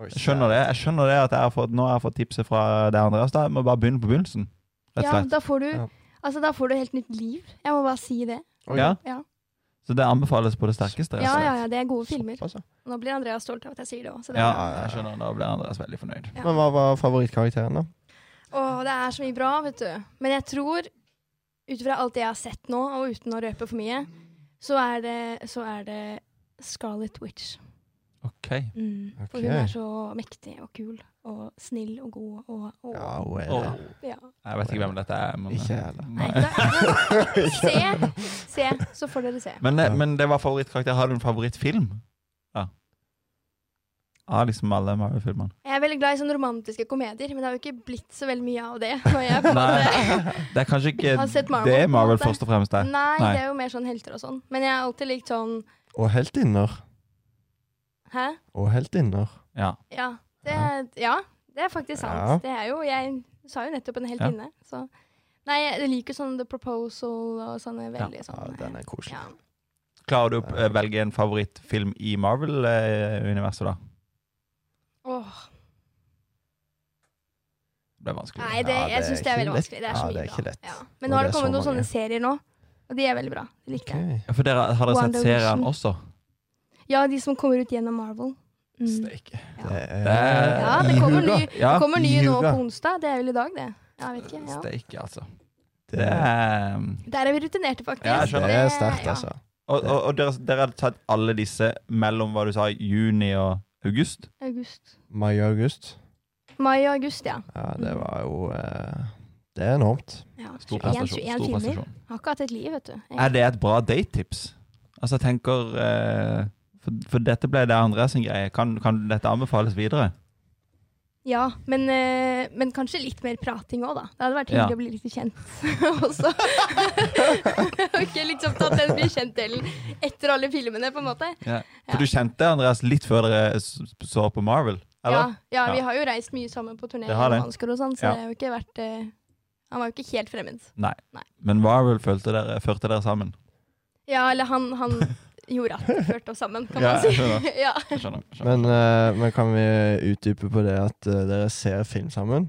Speaker 1: Oi,
Speaker 3: Jeg skjønner det. Jeg skjønner det at jeg har fått, nå har jeg fått tipset fra deg, Andreas. Da. Jeg må bare begynne på begynnelsen. Rett og
Speaker 2: ja,
Speaker 3: slett.
Speaker 2: da får du
Speaker 1: Ja.
Speaker 2: Altså, da får du helt nytt liv. Jeg må bare si det.
Speaker 1: Oi,
Speaker 3: Ja.
Speaker 2: Ja.
Speaker 3: Så det anbefales på det sterkeste.
Speaker 2: Ja,
Speaker 3: rett
Speaker 2: ja,
Speaker 3: og slett.
Speaker 2: ja, det er gode filmer.
Speaker 1: såpass, ja.
Speaker 2: Nå blir Andreas stolt av at jeg sier det òg, så det
Speaker 3: ja,
Speaker 2: er bra.
Speaker 3: jeg skjønner. Da blir Andreas veldig fornøyd.
Speaker 2: Ja.
Speaker 1: Men hva var favorittkarakteren, da?
Speaker 2: Å, det er så mye bra, vet du. Men jeg tror, ut fra alt det jeg har sett nå, og uten å røpe for mye, så er det, så er det Scarlet Witch.
Speaker 3: Ok.
Speaker 2: Mm, For
Speaker 1: Ok.
Speaker 2: hun er så mektig og kul og snill og god og, og
Speaker 1: Ja,
Speaker 2: ja.
Speaker 1: hun er
Speaker 3: Åh.
Speaker 1: det.
Speaker 3: Jeg vet ikke hvem dette er. Men, eh,
Speaker 1: Ikke jeg heller.
Speaker 2: Nei,
Speaker 3: Nei.
Speaker 2: da, se, se, så får dere se.
Speaker 3: Men, eh, men det var favorittkarakter. Har du en favorittfilm? Ja. Av liksom alle Marvel-filmene.
Speaker 2: Jeg er veldig glad i sånne romantiske komedier, men det har jo ikke blitt så veldig mye av det. Når jeg på en måte-
Speaker 3: Det er kanskje ikke
Speaker 2: Har sett Marvel,
Speaker 3: det
Speaker 2: på en
Speaker 3: Marvel
Speaker 2: måte.
Speaker 3: først og fremst er.
Speaker 2: Nei, det er jo mer sånn helter og sånn. Men jeg har alltid likt sånn
Speaker 1: Og heltinner.
Speaker 2: Hæ?
Speaker 1: Og heltinner.
Speaker 3: Ja.
Speaker 2: Ja, det er, ja, det er faktisk sant.
Speaker 1: Ja.
Speaker 2: Det er jo, jeg sa jo nettopp en
Speaker 3: Ja.
Speaker 2: heltinne, så Nei, jeg liker sånn The Proposal og sånne veldig
Speaker 1: Ja,
Speaker 2: sånne
Speaker 1: den er koselig.
Speaker 2: Sånn ja.
Speaker 3: Klarer du å eh, velge en favorittfilm i Marvel-universet, da?
Speaker 2: Åh,
Speaker 3: Det ble vanskelig.
Speaker 2: Nei, det,
Speaker 1: Ja, det
Speaker 2: jeg syns
Speaker 1: er
Speaker 2: det er
Speaker 1: ikke
Speaker 2: veldig
Speaker 1: lett.
Speaker 2: vanskelig. Det er
Speaker 1: Ja,
Speaker 2: så mye
Speaker 1: det er ikke
Speaker 2: bra.
Speaker 1: lett.
Speaker 2: Ja.
Speaker 1: Og
Speaker 2: Men nå har
Speaker 1: det
Speaker 2: det
Speaker 1: er så
Speaker 2: kommet noen
Speaker 1: mange.
Speaker 2: sånne serier nå, og de er veldig bra. Det likte jeg.
Speaker 1: Ok.
Speaker 3: Ja, For dere, Har dere sett
Speaker 2: WandaVision.
Speaker 3: serien også?
Speaker 2: Ja, de som kommer ut gjennom Marvel. Mm.
Speaker 1: Steike.
Speaker 2: Ja.
Speaker 1: Det er
Speaker 2: Ja, det kommer ny,
Speaker 3: Ja.
Speaker 2: det kommer ny nå
Speaker 1: Juga.
Speaker 2: på onsdag. Det er vel i dag, det. Ja, jeg vet ikke. Ja.
Speaker 3: Steike, altså.
Speaker 1: Det
Speaker 3: Det
Speaker 1: er,
Speaker 3: er,
Speaker 2: Der er vi rutinerte, faktisk.
Speaker 3: Ja, jeg
Speaker 1: det
Speaker 3: skjønner.
Speaker 1: er
Speaker 2: Det-
Speaker 1: sterkt,
Speaker 2: ja.
Speaker 1: altså.
Speaker 3: og og, og dere, dere har tatt alle disse mellom hva du sa, juni og august?
Speaker 2: August.
Speaker 1: Mai og august.
Speaker 2: Mai og august, ja.
Speaker 1: Ja, det var jo eh, Det er enormt.
Speaker 2: ja.
Speaker 3: Stor
Speaker 2: 21,
Speaker 3: prestasjon.
Speaker 2: 21
Speaker 3: Stor
Speaker 2: filmer.
Speaker 3: prestasjon.
Speaker 2: Har ikke hatt et liv, vet du.
Speaker 3: Er det et bra datetips? Altså, jeg tenker eh, for, for dette ble det Andreas sin greie. Kan, kan dette anbefales videre?
Speaker 2: Ja, men, eh, men kanskje litt mer prating òg, da. Det hadde vært
Speaker 3: Ja.
Speaker 2: hyggelig å bli litt kjent også. ok, liksom tatt den bli kjent-delen etter alle filmene, på en måte.
Speaker 3: Ja.
Speaker 2: Ja.
Speaker 3: For du kjente Andreas litt før dere s- så på Marvel?
Speaker 2: Ja,
Speaker 3: Eller?
Speaker 2: ja, vi
Speaker 3: Ja.
Speaker 2: har jo reist mye sammen på turné,
Speaker 3: Det har det.
Speaker 2: og Oscar og sånn, så
Speaker 3: Ja.
Speaker 2: det har jo ikke vært eh, Han var jo ikke helt fremmed.
Speaker 3: Men Marvel følte dere, førte dere sammen?
Speaker 2: Ja, eller han, han gjorde at det førte oss sammen, kan
Speaker 3: Ja,
Speaker 2: man si.
Speaker 3: jeg skjønner.
Speaker 2: ja.
Speaker 3: Jeg skjønner. jeg skjønner.
Speaker 1: Men, eh, men kan vi utdype på det at eh, dere ser film sammen?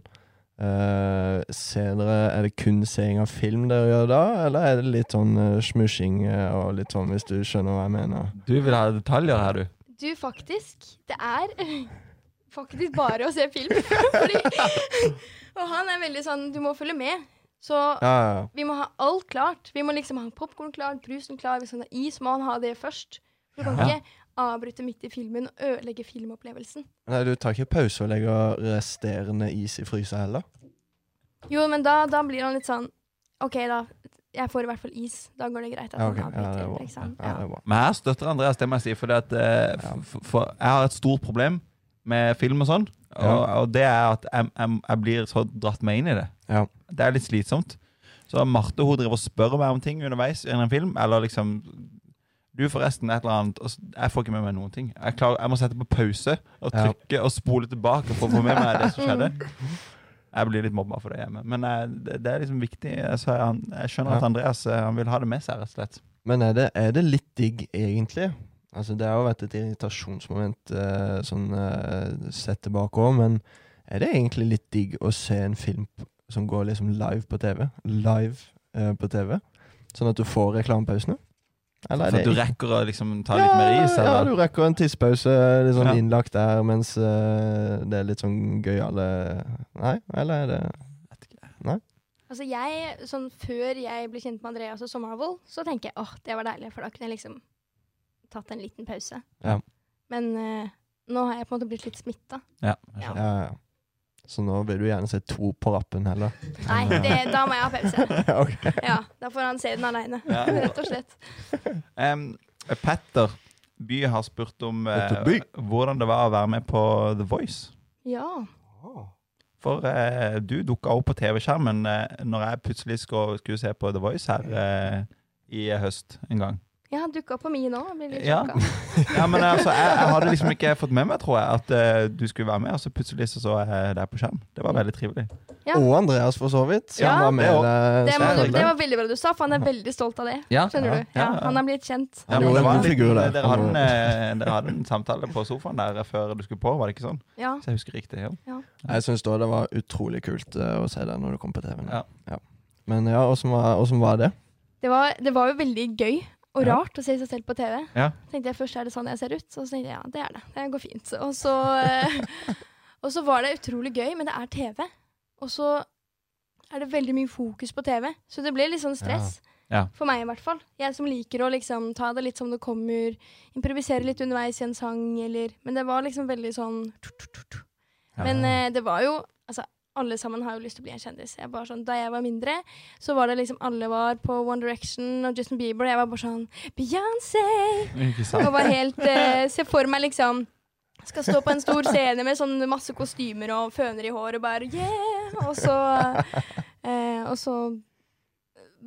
Speaker 1: Eh, ser dere, er det kun seing av film dere gjør da, eller er det litt sånn uh, smusjing eh, og litt sånn, hvis du skjønner hva jeg mener?
Speaker 3: Du vil ha detaljer her, du.
Speaker 2: Du, faktisk. Det er faktisk bare å se film. Fordi, og han er veldig sånn Du må følge med. Så
Speaker 1: Ja, ja.
Speaker 2: vi må ha alt klart. Vi må liksom ha popkorn klar, brusen klar. Hvis han har is, må han ha det først. Du kan
Speaker 3: Ja.
Speaker 2: ikke avbryte midt i filmen og ødelegge filmopplevelsen.
Speaker 1: Nei, du tar ikke pause og legger resterende is i frysa heller?
Speaker 2: Jo, men da, da blir han litt sånn OK, da. Jeg får i hvert fall is. Da går det greit. At
Speaker 1: Ja, ok.
Speaker 2: han
Speaker 1: Ja, det er
Speaker 2: avbryter,
Speaker 1: bra.
Speaker 2: ikke sant?
Speaker 1: Ja, det er bra.
Speaker 3: Men her støtter Andreas, det må jeg si. Fordi at, eh,
Speaker 1: Ja.
Speaker 3: f- for jeg har et stort problem med film og sånn. Og,
Speaker 1: Ja.
Speaker 3: og det er at jeg, jeg, jeg blir så dratt meg inn i det.
Speaker 1: Ja.
Speaker 3: Det er litt slitsomt. Så Marte hun driver og spør meg om ting underveis i en film. Eller liksom Du, forresten, et eller annet. Og s- jeg får ikke med meg noen ting. Jeg, klarer, jeg må sette på pause og
Speaker 1: Ja.
Speaker 3: trykke og spole tilbake for å få med meg det som skjedde. Jeg blir litt mobba for det hjemme. Men eh, det, det er liksom viktig. Så jeg, jeg skjønner
Speaker 1: Ja.
Speaker 3: at Andreas eh, han vil ha det med seg, rett og slett.
Speaker 1: Men er det, er det litt digg, egentlig? Altså, det har jo vært et irritasjonsmoment eh, sånn eh, sett tilbake òg, men er det egentlig litt digg å se en film p- som går liksom live på TV? Live eh, på TV? Sånn at du får reklamepausene? Eller
Speaker 3: Så
Speaker 1: er
Speaker 3: at du
Speaker 1: det
Speaker 3: rekker å liksom ta litt mer is?
Speaker 1: Ja,
Speaker 3: Eller?
Speaker 1: du rekker en tidspause litt sånn
Speaker 3: Ja.
Speaker 1: innlagt der, mens eh, det er litt sånn gøyale Nei, eller er det
Speaker 2: Altså jeg, sånn Før jeg ble kjent med Andreas og Sommerhavl, så tenker jeg åh, det var deilig, for da kunne jeg liksom tatt en liten pause.
Speaker 1: Ja.
Speaker 2: Men eh, nå har jeg på en måte blitt litt smitta.
Speaker 3: Ja, jeg skjønner.
Speaker 1: Ja, ja. Så nå vil du gjerne se to på rappen heller?
Speaker 2: Nei, det, da må jeg ha pause.
Speaker 1: Ok.
Speaker 2: Ja, Da får han se den aleine,
Speaker 3: Ja.
Speaker 2: rett og slett.
Speaker 3: Em, Petter By har spurt om eh,
Speaker 1: Petter By.
Speaker 3: hvordan det var å være med på The Voice.
Speaker 2: Ja.
Speaker 3: For eh, du dukka opp på TV-skjermen eh, når jeg plutselig skulle, skulle se på The Voice her eh, i høst en gang.
Speaker 2: Jeg har dukka på min òg. Blir litt
Speaker 3: Ja.
Speaker 2: sjokka.
Speaker 3: Ja, men altså, jeg, jeg hadde liksom ikke fått med meg, tror jeg, at eh, du skulle være med, og så plutselig så, så jeg deg på skjerm. Det var veldig trivelig.
Speaker 2: Ja.
Speaker 1: Og Andreas, for så vidt. Som
Speaker 2: Ja,
Speaker 1: var med
Speaker 3: det også.
Speaker 1: deg.
Speaker 2: Det, må,
Speaker 1: selvfølgelig.
Speaker 2: du- det var veldig bra du sa, for han er veldig stolt av det. Skjønner
Speaker 1: Ja,
Speaker 2: du? Ja,
Speaker 3: ja, ja.
Speaker 2: Han er blitt kjent.
Speaker 1: Ja,
Speaker 3: men
Speaker 1: jo,
Speaker 3: det
Speaker 1: en
Speaker 3: var
Speaker 1: god
Speaker 3: litt-
Speaker 1: figur der.
Speaker 3: dere, hadde en, eh, dere hadde en samtale på sofaen der før du skulle på, var det ikke sånn?
Speaker 2: Ja.
Speaker 3: Hvis jeg husker riktig. ja.
Speaker 1: Jeg syns da det var utrolig kult eh, å se det når det kom på TV.
Speaker 3: Ja.
Speaker 1: Men ja, åssen var, hvordan var det?
Speaker 2: Det var, det var jo veldig gøy og
Speaker 3: Ja.
Speaker 2: rart å se seg selv på TV.
Speaker 3: Ja.
Speaker 2: Tenkte jeg Først er det sånn jeg ser ut, og så tenkte jeg ja, det er det. Det går fint. Og så, eh, og så var det utrolig gøy, men det er TV. Og så er det veldig mye fokus på TV, så det ble litt sånn stress.
Speaker 3: Ja. Ja.
Speaker 2: For meg i hvert fall. Jeg som liker å liksom ta det litt som det kommer, improvisere litt underveis i en sang eller Men det var liksom veldig sånn men eh, det var jo altså, Alle sammen har jo lyst til å bli en kjendis. Jeg bare sånn, da jeg var mindre, så var det liksom alle var på One Direction og Justin Bieber. Og jeg var bare sånn Beyoncé!
Speaker 3: Ikke sant?
Speaker 2: Og var helt eh, Se for meg liksom skal stå på en stor scene med sånn masse kostymer og føner i håret og bare yeah! Og så, eh, og så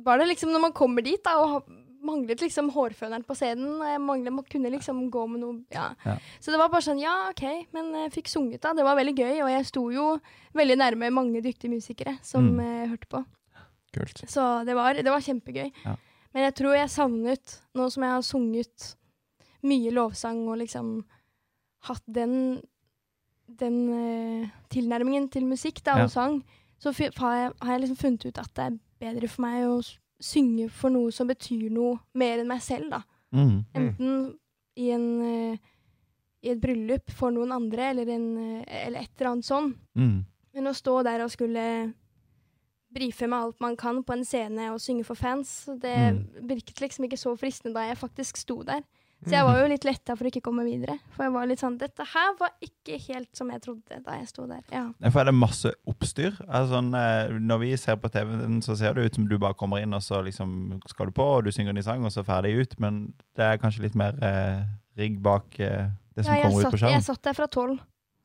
Speaker 2: var det liksom når man kommer dit da, og ha- manglet liksom hårføneren på scenen, og jeg manglet, man kunne liksom gå med noe, ja.
Speaker 3: Ja.
Speaker 2: Så det var bare sånn, ja, ok, men jeg fikk sunget da, det var veldig gøy, og jeg sto jo veldig nærme mange dyktige musikere som
Speaker 3: Mm.
Speaker 2: eh, hørte på.
Speaker 1: Kult.
Speaker 2: Så det var, det var kjempegøy.
Speaker 3: Ja.
Speaker 2: Men jeg tror jeg savnet, nå som jeg har sunget mye lovsang og liksom hatt den, den eh, tilnærmingen til musikk da,
Speaker 3: Ja.
Speaker 2: og sang, så fi- har jeg, har jeg liksom funnet ut at det er bedre for meg å s- synge for noe som betyr noe mer enn meg selv. da.
Speaker 3: Mm.
Speaker 1: Mm.
Speaker 2: Enten i, en, eh, i et bryllup for noen andre, eller, en, eh, eller et eller annet sånn.
Speaker 3: Mm.
Speaker 2: Men å stå der og skulle brife med alt man kan på en scene og synge for fans, det
Speaker 3: Mm.
Speaker 2: virket liksom ikke så fristende da jeg faktisk sto der. Så
Speaker 3: Mm.
Speaker 2: jeg var jo litt letta for å ikke komme videre. For jeg var litt sånn Dette her var ikke helt som jeg trodde da jeg sto der. Ja.
Speaker 3: Derfor er det masse oppstyr. Altså, sånn, eh, når vi ser på TV-en, så ser det ut som du bare kommer inn, og så liksom skal du på, og du synger en ny sang, og så ferdig ut. Men det er kanskje litt mer eh, rigg bak eh, det som
Speaker 2: Ja, jeg,
Speaker 3: kommer ut
Speaker 2: satt,
Speaker 3: på
Speaker 2: jeg
Speaker 3: skjermen.
Speaker 2: satt der fra tolv.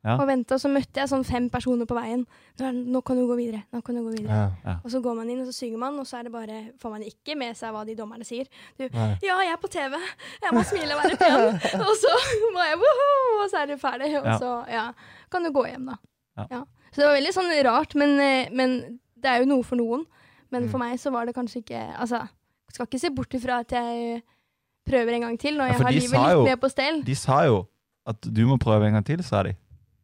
Speaker 3: Ja.
Speaker 2: og venta. Så møtte jeg sånn fem personer på veien. Nå, er den- nå kan du gå videre. nå kan du gå videre.
Speaker 1: Ja.
Speaker 2: Og så går man inn, og så synger man, og så er det bare, får man ikke med seg hva de dommerne sier.
Speaker 1: Nei.
Speaker 2: Ja, jeg er på TV. Jeg må smile og være pen. Og så må jeg woho, og så er det ferdig. Og
Speaker 3: Ja.
Speaker 2: så ja, kan du gå hjem, da.
Speaker 3: Ja.
Speaker 2: Så det var veldig sånn rart, men, eh, men det er jo noe for noen. Men for
Speaker 3: Mm.
Speaker 2: meg så var det kanskje ikke Altså, skal ikke se bort ifra at jeg prøver en gang til, når
Speaker 3: Ja,
Speaker 2: jeg
Speaker 3: for
Speaker 2: har
Speaker 3: de
Speaker 2: livet
Speaker 3: sa
Speaker 2: litt
Speaker 3: jo-
Speaker 2: mer på stell.
Speaker 3: De sa jo at du må prøve en gang til, sa de.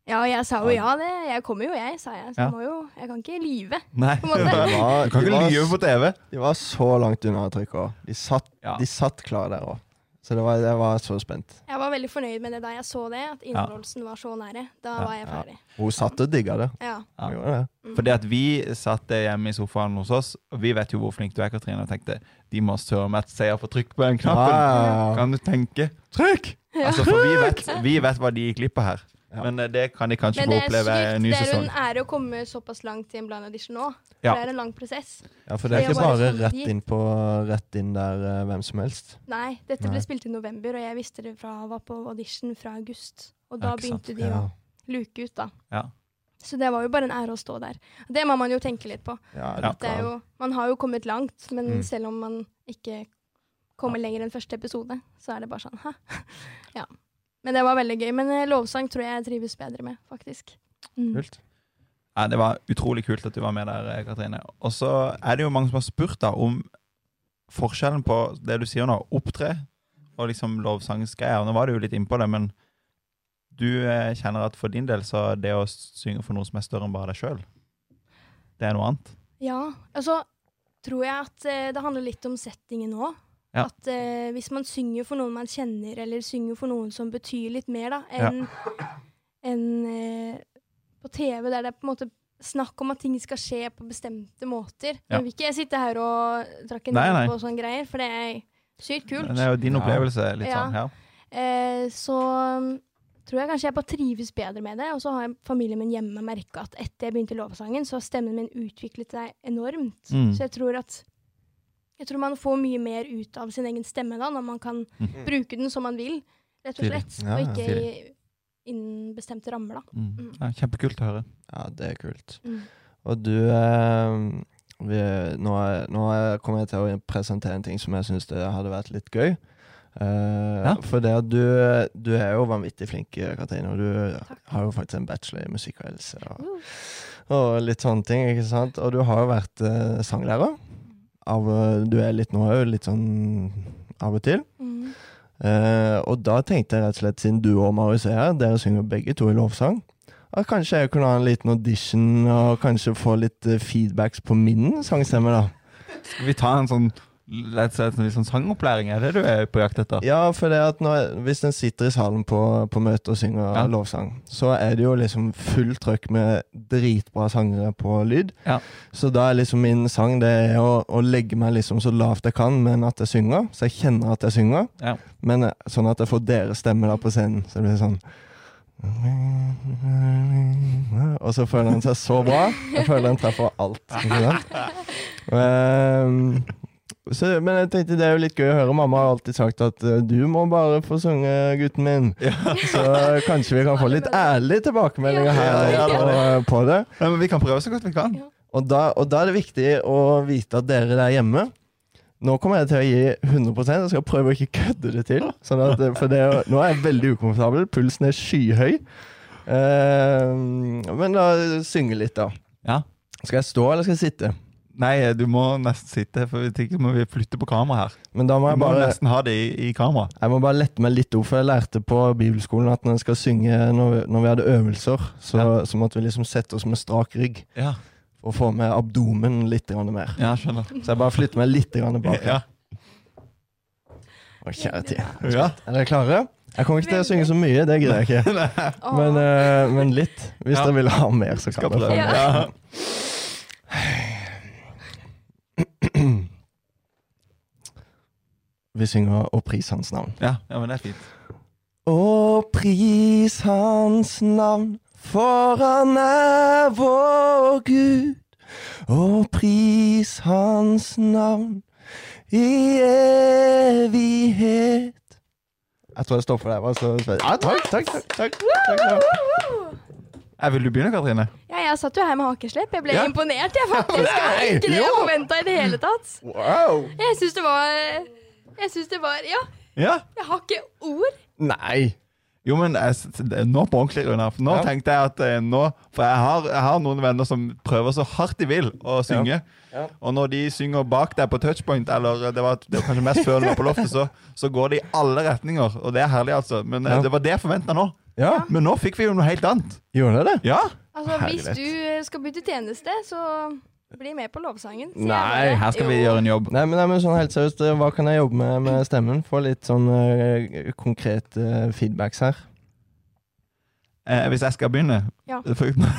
Speaker 2: Ja, og jeg sa jo
Speaker 3: Ja.
Speaker 2: ja, det. Jeg kommer jo, jeg, sa jeg. Så
Speaker 3: Ja.
Speaker 2: jeg må jo Jeg kan ikke lyve.
Speaker 3: Nei,
Speaker 2: På
Speaker 3: du
Speaker 2: en måte.
Speaker 1: var-
Speaker 3: kan
Speaker 1: de
Speaker 3: ikke
Speaker 1: var-
Speaker 3: lyve på TV.
Speaker 1: De var så langt unna trykket òg. De, satt-
Speaker 3: Ja.
Speaker 1: de satt klar der òg. Så det var, jeg var så spent.
Speaker 2: Jeg var veldig fornøyd med det da jeg så det, at innholdelsen var så nære. Da
Speaker 3: Ja,
Speaker 2: var jeg
Speaker 1: ja.
Speaker 2: ferdig.
Speaker 1: Hun satt og digga det.
Speaker 2: Ja.
Speaker 3: Ja.
Speaker 1: Hun gjorde det.
Speaker 3: Fordi at vi satt hjemme i sofaen hos oss, og vi vet jo hvor flink du er, Katrine, og tenkte de må søren meg se på trykk på den knappen.
Speaker 1: Ja, ja, ja.
Speaker 3: Kan du tenke?
Speaker 1: Trykk!
Speaker 3: Altså, for vi vet, vi vet hva de gikk glipp av her.
Speaker 1: Ja.
Speaker 3: Men eh, det kan de
Speaker 2: Men
Speaker 3: kanskje få
Speaker 2: det er
Speaker 3: oppleve i
Speaker 2: sykt.
Speaker 3: en ny
Speaker 2: Det er jo
Speaker 3: sesong.
Speaker 2: en ære å komme såpass langt i en blind audition nå. For
Speaker 3: Ja.
Speaker 2: Det er en lang prosess.
Speaker 1: Ja, for det er
Speaker 2: Det
Speaker 1: ikke
Speaker 2: var
Speaker 1: bare
Speaker 2: sånn de-
Speaker 1: rett inn på rett inn der eh, hvem som helst.
Speaker 2: Nei, dette
Speaker 1: Nei.
Speaker 2: ble spilt i november, og jeg visste det fra var på audition fra august. Og da
Speaker 3: Ja, ikke sant.
Speaker 2: begynte de
Speaker 1: Ja.
Speaker 2: å luke ut, da.
Speaker 3: Ja.
Speaker 2: Så det var jo bare en ære å stå der. Og Det må man jo tenke litt på.
Speaker 1: Ja,
Speaker 3: Ja.
Speaker 2: Det er jo, man har jo kommet langt, men
Speaker 1: Mm.
Speaker 2: selv om man ikke kommer lenger enn første episode, så er det bare sånn hæ? ja. Men det var veldig gøy. Men eh, lovsang tror jeg jeg trives bedre med, faktisk. Mm.
Speaker 1: kult.
Speaker 3: Ja, det var utrolig kult at du var med der, eh, Katrine. Og så er det jo mange som har spurt da om forskjellen på det du sier nå, opptre og liksom lovsangsgreier. Nå var du jo litt innpå det, men du eh, kjenner at for din del så er det å synge for noe som er større enn bare deg sjøl, det er noe annet.
Speaker 2: Ja, altså tror jeg at eh, det handler litt om settingen nå.
Speaker 3: Ja.
Speaker 2: At eh, hvis man synger for noen man kjenner, eller synger for noen som betyr litt mer da, enn enn, eh, på TV, der det er på en måte snakk om at ting skal skje på bestemte måter.
Speaker 3: Ja.
Speaker 2: Nå vil ikke jeg sitte her og trakke
Speaker 3: Nei,
Speaker 2: ned
Speaker 3: nei.
Speaker 2: på sånne greier, for det er sykt kult.
Speaker 3: Det er jo din
Speaker 1: Ja.
Speaker 3: opplevelse. litt
Speaker 2: Ja.
Speaker 3: sånn, ja.
Speaker 2: Eh, så mm, tror jeg kanskje jeg bare trives bedre med det. Og så har jeg- familien min hjemme merka at etter jeg begynte lovsangen, så har stemmen min utviklet seg enormt.
Speaker 3: Mm.
Speaker 2: Så jeg tror at jeg tror man får mye mer ut av sin egen stemme da, når man kan
Speaker 3: Mm.
Speaker 2: bruke den som man vil, rett og
Speaker 3: Stilig.
Speaker 2: slett.
Speaker 1: Mhm. Ja,
Speaker 2: Og
Speaker 1: ja.
Speaker 2: ikke i, innen bestemte rammer, da.
Speaker 3: Mm. Ja, kjempekult å høre.
Speaker 1: Ja, det er kult.
Speaker 2: Mm.
Speaker 1: Og du eh, vi, nå, er- nå er- kommer jeg til å presentere en ting som jeg syns hadde vært litt gøy. Eh,
Speaker 3: Ja.
Speaker 1: For det at du, du er jo vanvittig flink, Katrine, og du
Speaker 2: Takk.
Speaker 1: har jo faktisk en bachelor i musikk og helse. Og, og litt sånne ting, ikke sant? Og du har jo vært eh, sanglærer. Av, eh, du er litt nå òg, litt sånn av og til.
Speaker 2: Mm.
Speaker 1: Eh, og da tenkte jeg rett og slett, siden du og Marius er her, dere synger begge to i lovsang, at kanskje jeg kunne ha en liten audition og kanskje få litt eh, feedbacks på min sangstemme, da.
Speaker 3: Skal vi ta en sånn, litt, sånn, litt sånn sangopplæring? Er det du er på jakt etter?
Speaker 1: Ja, for det at når, hvis en sitter i salen på, på møte og synger
Speaker 3: Ja.
Speaker 1: lovsang, så er det jo liksom fullt trøkk med dritbra sangere på lyd.
Speaker 3: Ja.
Speaker 1: Så da er liksom min sang det er å, å legge meg liksom så lavt jeg kan, men at jeg synger. Så jeg kjenner at jeg synger.
Speaker 3: Ja.
Speaker 1: Men eh, sånn at jeg får deres stemme da på scenen. Så det blir sånn Og så føler han seg så bra. Jeg føler han treffer alt. Ikke sant? Ehm, så, men jeg tenkte det er jo litt gøy å høre. Mamma har alltid sagt at eh, du må bare få synge, gutten min. Så kanskje vi kan få litt ærlige tilbakemeldinger her
Speaker 3: Ja, ja, det var
Speaker 1: på, på det.
Speaker 3: Nei, men vi kan prøve så godt vi kan.
Speaker 1: Og da, og da er det viktig å vite at dere der hjemme Nå kommer jeg til å gi 100 Jeg skal prøve å ikke kødde det til. Sånn at, for det, er jo- nå er jeg veldig ukomfortabel. Pulsen er skyhøy. Eh, men da synge litt, da.
Speaker 3: Ja.
Speaker 1: Skal jeg stå, eller skal jeg sitte?
Speaker 3: Nei, du må nesten sitte, for hvis ikke må vi flytte på kamera her.
Speaker 1: Men da må
Speaker 3: Vi
Speaker 1: jeg
Speaker 3: må
Speaker 1: bare
Speaker 3: nesten ha det i, i kamera.
Speaker 1: Jeg må bare lette meg litt opp, for jeg lærte på bibelskolen at når en skal synge når vi, når vi hadde øvelser, så, så måtte vi liksom sette oss med strak rygg
Speaker 3: Ja,
Speaker 1: og få med abdomen litt grann mer.
Speaker 3: ja skjønner.
Speaker 1: Så jeg bare flytter meg litt grann bak.
Speaker 3: Ja.
Speaker 1: Å, kjære tid.
Speaker 3: Ja.
Speaker 1: Er dere klare? Jeg kommer ikke til å synge så mye, det greier jeg ikke.
Speaker 2: Åh.
Speaker 1: Men, eh, men litt. Hvis
Speaker 3: Ja.
Speaker 1: dere vil ha mer, så
Speaker 3: Skal
Speaker 1: kan dere
Speaker 3: prøve.
Speaker 1: få mer.
Speaker 3: Ja.
Speaker 1: Vi synger 'Og pris hans navn'.
Speaker 3: Ja. ja, men det er fint.
Speaker 1: Og pris hans navn, for han er vår Gud. Og pris hans navn i evighet. Jeg tror jeg stopper der. bare så- Ja, takk, takk, takk. takk, takk, takk.
Speaker 3: Eh, Vil du begynne, Katrine?
Speaker 2: Ja, jeg satt jo her med hakeslepp. Jeg ble
Speaker 3: Ja.
Speaker 2: imponert, jeg faktisk. Det var
Speaker 1: Nei,
Speaker 2: ikke det jeg
Speaker 1: jo.
Speaker 2: forventa i det hele tatt.
Speaker 1: Wow!
Speaker 2: Jeg syns det var Jeg syns det var Ja,
Speaker 3: Ja.
Speaker 2: jeg har ikke ord.
Speaker 1: Nei!
Speaker 3: Jo, men jeg, s- det- nå på ordentlig, Runar. For nå
Speaker 1: Ja.
Speaker 3: tenkte jeg at eh, nå For jeg har, jeg har noen venner som prøver så hardt de vil å synge.
Speaker 1: Ja.
Speaker 3: Og når de synger bak deg på touchpoint, eller eh, det var, det var kanskje mest før du var på loftet, så, så går det i alle retninger. Og det er herlig, altså. Men eh,
Speaker 1: Ja.
Speaker 3: det var det jeg forventa nå.
Speaker 1: Ja,
Speaker 3: Men nå fikk vi jo noe helt annet.
Speaker 1: gjorde jeg det?
Speaker 3: Ja.
Speaker 2: Altså, hvis
Speaker 1: Herlighet.
Speaker 2: du eh, skal bytte tjeneste, så bli med på lovsangen. sier jeg
Speaker 1: Nei,
Speaker 2: bare.
Speaker 3: Her skal vi
Speaker 2: Jo.
Speaker 3: gjøre en jobb.
Speaker 1: Nei, men, nei, men sånn helt seriøst, eh, hva kan jeg jobbe med
Speaker 3: Mm.
Speaker 1: med stemmen? Få litt sånn eh, konkrete feedbacks her.
Speaker 3: Eh, hvis jeg skal begynne?
Speaker 2: Ja.
Speaker 3: Fuck meg.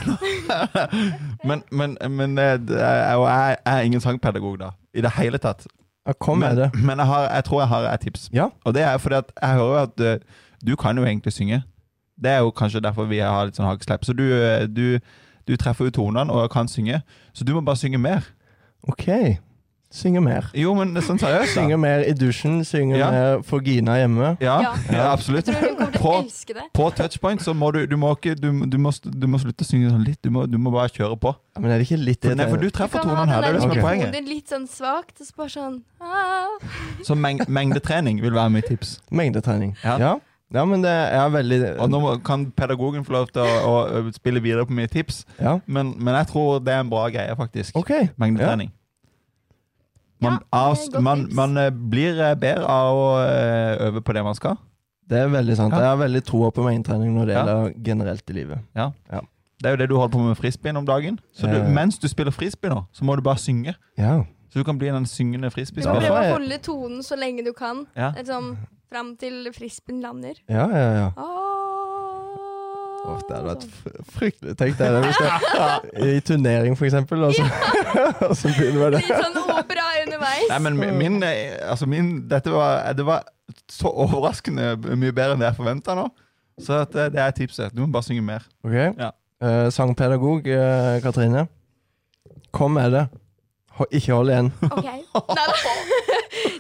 Speaker 3: men men, men eh, det er- og jeg jeg er ingen sangpedagog, da. I det hele tatt.
Speaker 1: Ja, kom med
Speaker 3: men,
Speaker 1: det.
Speaker 3: Men jeg, har, jeg tror jeg har et tips.
Speaker 1: Ja.
Speaker 3: Og det er fordi at jeg hører jo at eh, du kan jo egentlig synge. Det er jo kanskje derfor vi har litt sånn hakeslepp. Så du, eh, du, du treffer jo tonene og kan synge, så du må bare synge mer.
Speaker 1: OK. Synge mer.
Speaker 3: Jo, men sånn seriøst, da.
Speaker 1: Synge mer i dusjen, synge
Speaker 3: Ja.
Speaker 1: mer for Gina hjemme.
Speaker 3: Ja,
Speaker 2: Ja.
Speaker 3: ja
Speaker 2: Jeg
Speaker 3: absolutt.
Speaker 2: tror hun kommer til å
Speaker 3: På,
Speaker 2: elske det.
Speaker 3: på touchpoint så må du, du må ikke du, du, må, du må slutte å synge sånn litt. Du må, du må bare kjøre på.
Speaker 1: Ja, men er det ikke litt det
Speaker 3: Nei, for du
Speaker 2: Du
Speaker 3: treffer
Speaker 2: kan ha
Speaker 3: tonene her. Det er
Speaker 2: den
Speaker 3: det som
Speaker 1: Ok.
Speaker 3: er
Speaker 2: der
Speaker 3: poenget.
Speaker 2: hodet litt sånn svakt, og så bare sånn ah.
Speaker 3: Så meng, mengdetrening vil være mitt tips.
Speaker 1: Mengdetrening.
Speaker 3: Ja.
Speaker 1: ja. Ja, men det er veldig
Speaker 3: Og nå må- kan pedagogen få lov til å, å ø, spille videre på mine tips,
Speaker 1: Ja,
Speaker 3: men, men jeg tror det er en bra greie, faktisk.
Speaker 1: OK.
Speaker 3: Mengdetrening.
Speaker 2: Ja,
Speaker 3: Man,
Speaker 2: det er
Speaker 3: avs-
Speaker 2: et godt
Speaker 3: man,
Speaker 2: tips.
Speaker 3: man eh, blir eh, bedre av å eh, øve på det man skal.
Speaker 1: Det er veldig sant.
Speaker 3: Ja.
Speaker 1: Jeg har veldig troa på mengdetrening når det
Speaker 3: Ja.
Speaker 1: gjelder generelt i livet.
Speaker 3: Det er jo det du holder på med frisbeen om dagen. Så du,
Speaker 1: Eh.
Speaker 3: mens du spiller frisbee nå, så må du bare synge.
Speaker 1: Ja.
Speaker 3: Så du kan bli den syngende
Speaker 1: Ja.
Speaker 2: Du må
Speaker 3: frisbeespilleren.
Speaker 2: prøve å holde tonen så lenge du kan.
Speaker 3: Ja.
Speaker 2: Liksom fram til frisbeen lander.
Speaker 1: Ja, ja, ja.
Speaker 2: Ah.
Speaker 1: Åh, det hadde vært fr- fryktelig. Tenk deg det hvis det i turnering, for eksempel, og så, og så begynner vi det.
Speaker 2: Litt sånn opera underveis.
Speaker 3: Nei, men mi- min, eh, altså min Dette var, det var så overraskende b- mye bedre enn det jeg forventa nå. Så at, eh, det er tipset. Du må bare synge mer.
Speaker 1: Ok.
Speaker 3: Ja.
Speaker 1: Eh, sangpedagog eh, Katrine, kom med det. Ho ikke hold igjen.
Speaker 2: Ok. Neida.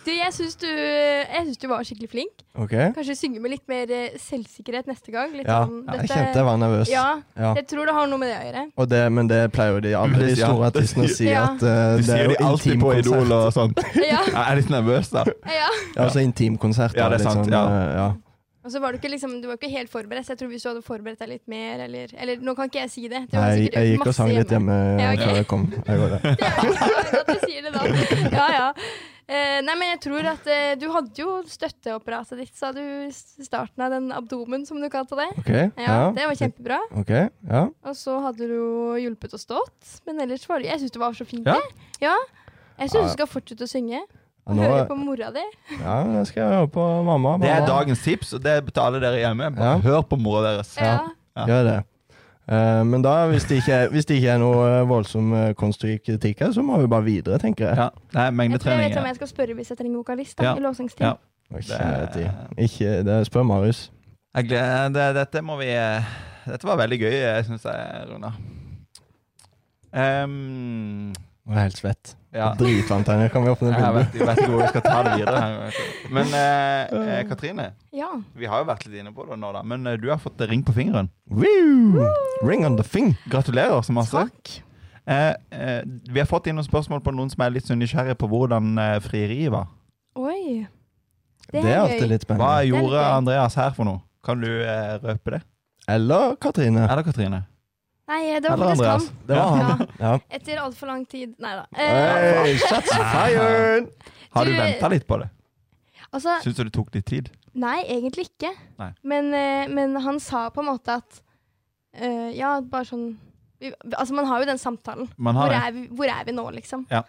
Speaker 2: Du, jeg syns du, jeg synes du var skikkelig flink.
Speaker 1: Ok?
Speaker 2: Kanskje synge med litt mer eh, selvsikkerhet neste gang. Litt
Speaker 1: Ja,
Speaker 2: sånn,
Speaker 1: jeg kjente jeg var nervøs.
Speaker 2: Ja,
Speaker 1: Ja.
Speaker 2: jeg tror det har noe med det å gjøre.
Speaker 1: Og det, men det pleier jo de alle de
Speaker 3: Ja,
Speaker 1: store
Speaker 3: det
Speaker 1: artistene å
Speaker 3: sier-
Speaker 1: si,
Speaker 2: Ja.
Speaker 1: at eh,
Speaker 3: De
Speaker 1: det
Speaker 3: sier
Speaker 1: er
Speaker 3: de
Speaker 1: jo
Speaker 3: alltid på Idol
Speaker 1: intimkonsert.
Speaker 3: og sånn.
Speaker 2: Ja,
Speaker 3: Jeg er litt nervøs, da.
Speaker 2: ja.
Speaker 1: Ja, altså intimkonsert.
Speaker 3: Ja,
Speaker 1: da,
Speaker 3: det er
Speaker 1: litt
Speaker 3: sant,
Speaker 1: sånn,
Speaker 3: ja.
Speaker 1: eh, ja.
Speaker 2: Og så var du ikke liksom, du var ikke helt forberedt. så Jeg tror Hvis du hadde forberedt deg litt mer Eller, eller nå kan ikke jeg si det. Du
Speaker 1: Nei,
Speaker 2: har
Speaker 1: jeg,
Speaker 2: sikkert
Speaker 1: jeg gikk og
Speaker 2: masse
Speaker 1: sang litt hjemme
Speaker 2: Ja, ok.
Speaker 1: før jeg kom. Jeg går der.
Speaker 2: Det er jo ikke bra at du sier det da. Ja, ja. Eh, nei, men jeg tror at eh, du hadde jo støtteapparatet ditt, sa du i s- starten av den abdomen, som du kalte det.
Speaker 1: Ok, ja.
Speaker 2: Ja, Det var kjempebra.
Speaker 1: Ok, ja.
Speaker 2: Og så hadde du jo hjulpet og stått. Men ellers var det Jeg syns du var så flink.
Speaker 3: Ja.
Speaker 2: jeg. ja. Jeg syns du skal fortsette å synge. Og
Speaker 1: Nå,
Speaker 2: høre på mora di.
Speaker 1: ja, nå skal jeg høre på mamma.
Speaker 3: Det er
Speaker 1: mamma.
Speaker 3: dagens tips, og det er til alle dere hjemme. Bare
Speaker 1: Ja.
Speaker 3: Hør på mora deres.
Speaker 2: Ja.
Speaker 3: Ja.
Speaker 1: Gjør det. Eh, men da, hvis det ikke er, hvis det ikke er noe eh, voldsom eh, konstruktiv kritikk her, så må vi bare videre, tenker jeg.
Speaker 3: Ja. Nei,
Speaker 2: Jeg tror jeg
Speaker 3: mengdetrening.
Speaker 2: vet hvem
Speaker 3: ja.
Speaker 2: jeg skal spørre hvis jeg trenger vokalist. da,
Speaker 3: Ja.
Speaker 2: i lovsangstid.
Speaker 3: Ja.
Speaker 1: Å,
Speaker 3: Det-
Speaker 1: kjærlighet i. Ikke, det spør Marius.
Speaker 3: Jeg gleder, det, dette må vi eh, Dette var veldig gøy, jeg syns jeg, Runa. Ehm,
Speaker 1: Nå er jeg helt svett.
Speaker 3: ja.
Speaker 1: Dritvarmt her. Kan vi åpne
Speaker 3: Jeg
Speaker 1: vinduet?
Speaker 3: vet, jeg vet ikke hvor vi skal ta det videre. her, vet du. Men eh, eh, Katrine,
Speaker 2: Ja.
Speaker 3: vi har jo vært litt inne på det nå, da. Men eh, du har fått ring på fingeren.
Speaker 1: Woo! Mm. Ring on the thing.
Speaker 3: Gratulerer så masse.
Speaker 2: Takk.
Speaker 3: Eh, eh, vi har fått inn noen spørsmål på noen som er litt sånn nysgjerrig på hvordan eh, frieriet var.
Speaker 2: Oi.
Speaker 1: Det er alltid litt
Speaker 3: Hva
Speaker 1: spennende.
Speaker 3: gjorde
Speaker 2: gøy.
Speaker 3: Andreas her for noe? Kan du eh, røpe det?
Speaker 1: Eller Katrine.
Speaker 3: Eller Katrine?
Speaker 2: Nei, det var
Speaker 3: Eller
Speaker 2: faktisk
Speaker 3: Andreas?
Speaker 2: han.
Speaker 1: Det var
Speaker 2: Ja.
Speaker 1: han. Ja.
Speaker 2: Etter altfor lang tid Nei da. Eh,
Speaker 1: Hey, shots
Speaker 3: Ah.
Speaker 1: fired!
Speaker 3: Har du,
Speaker 2: Du-
Speaker 3: ventet venta litt på det?
Speaker 2: altså,
Speaker 3: Syns du det tok litt tid?
Speaker 2: nei, egentlig ikke.
Speaker 3: Nei.
Speaker 2: Men, eh, men han sa på en måte at eh, Ja, bare sånn vi, Altså, man har jo den samtalen.
Speaker 3: Man
Speaker 2: Hvor
Speaker 3: har det.
Speaker 2: er, vi, hvor er vi nå, liksom?
Speaker 3: Ja.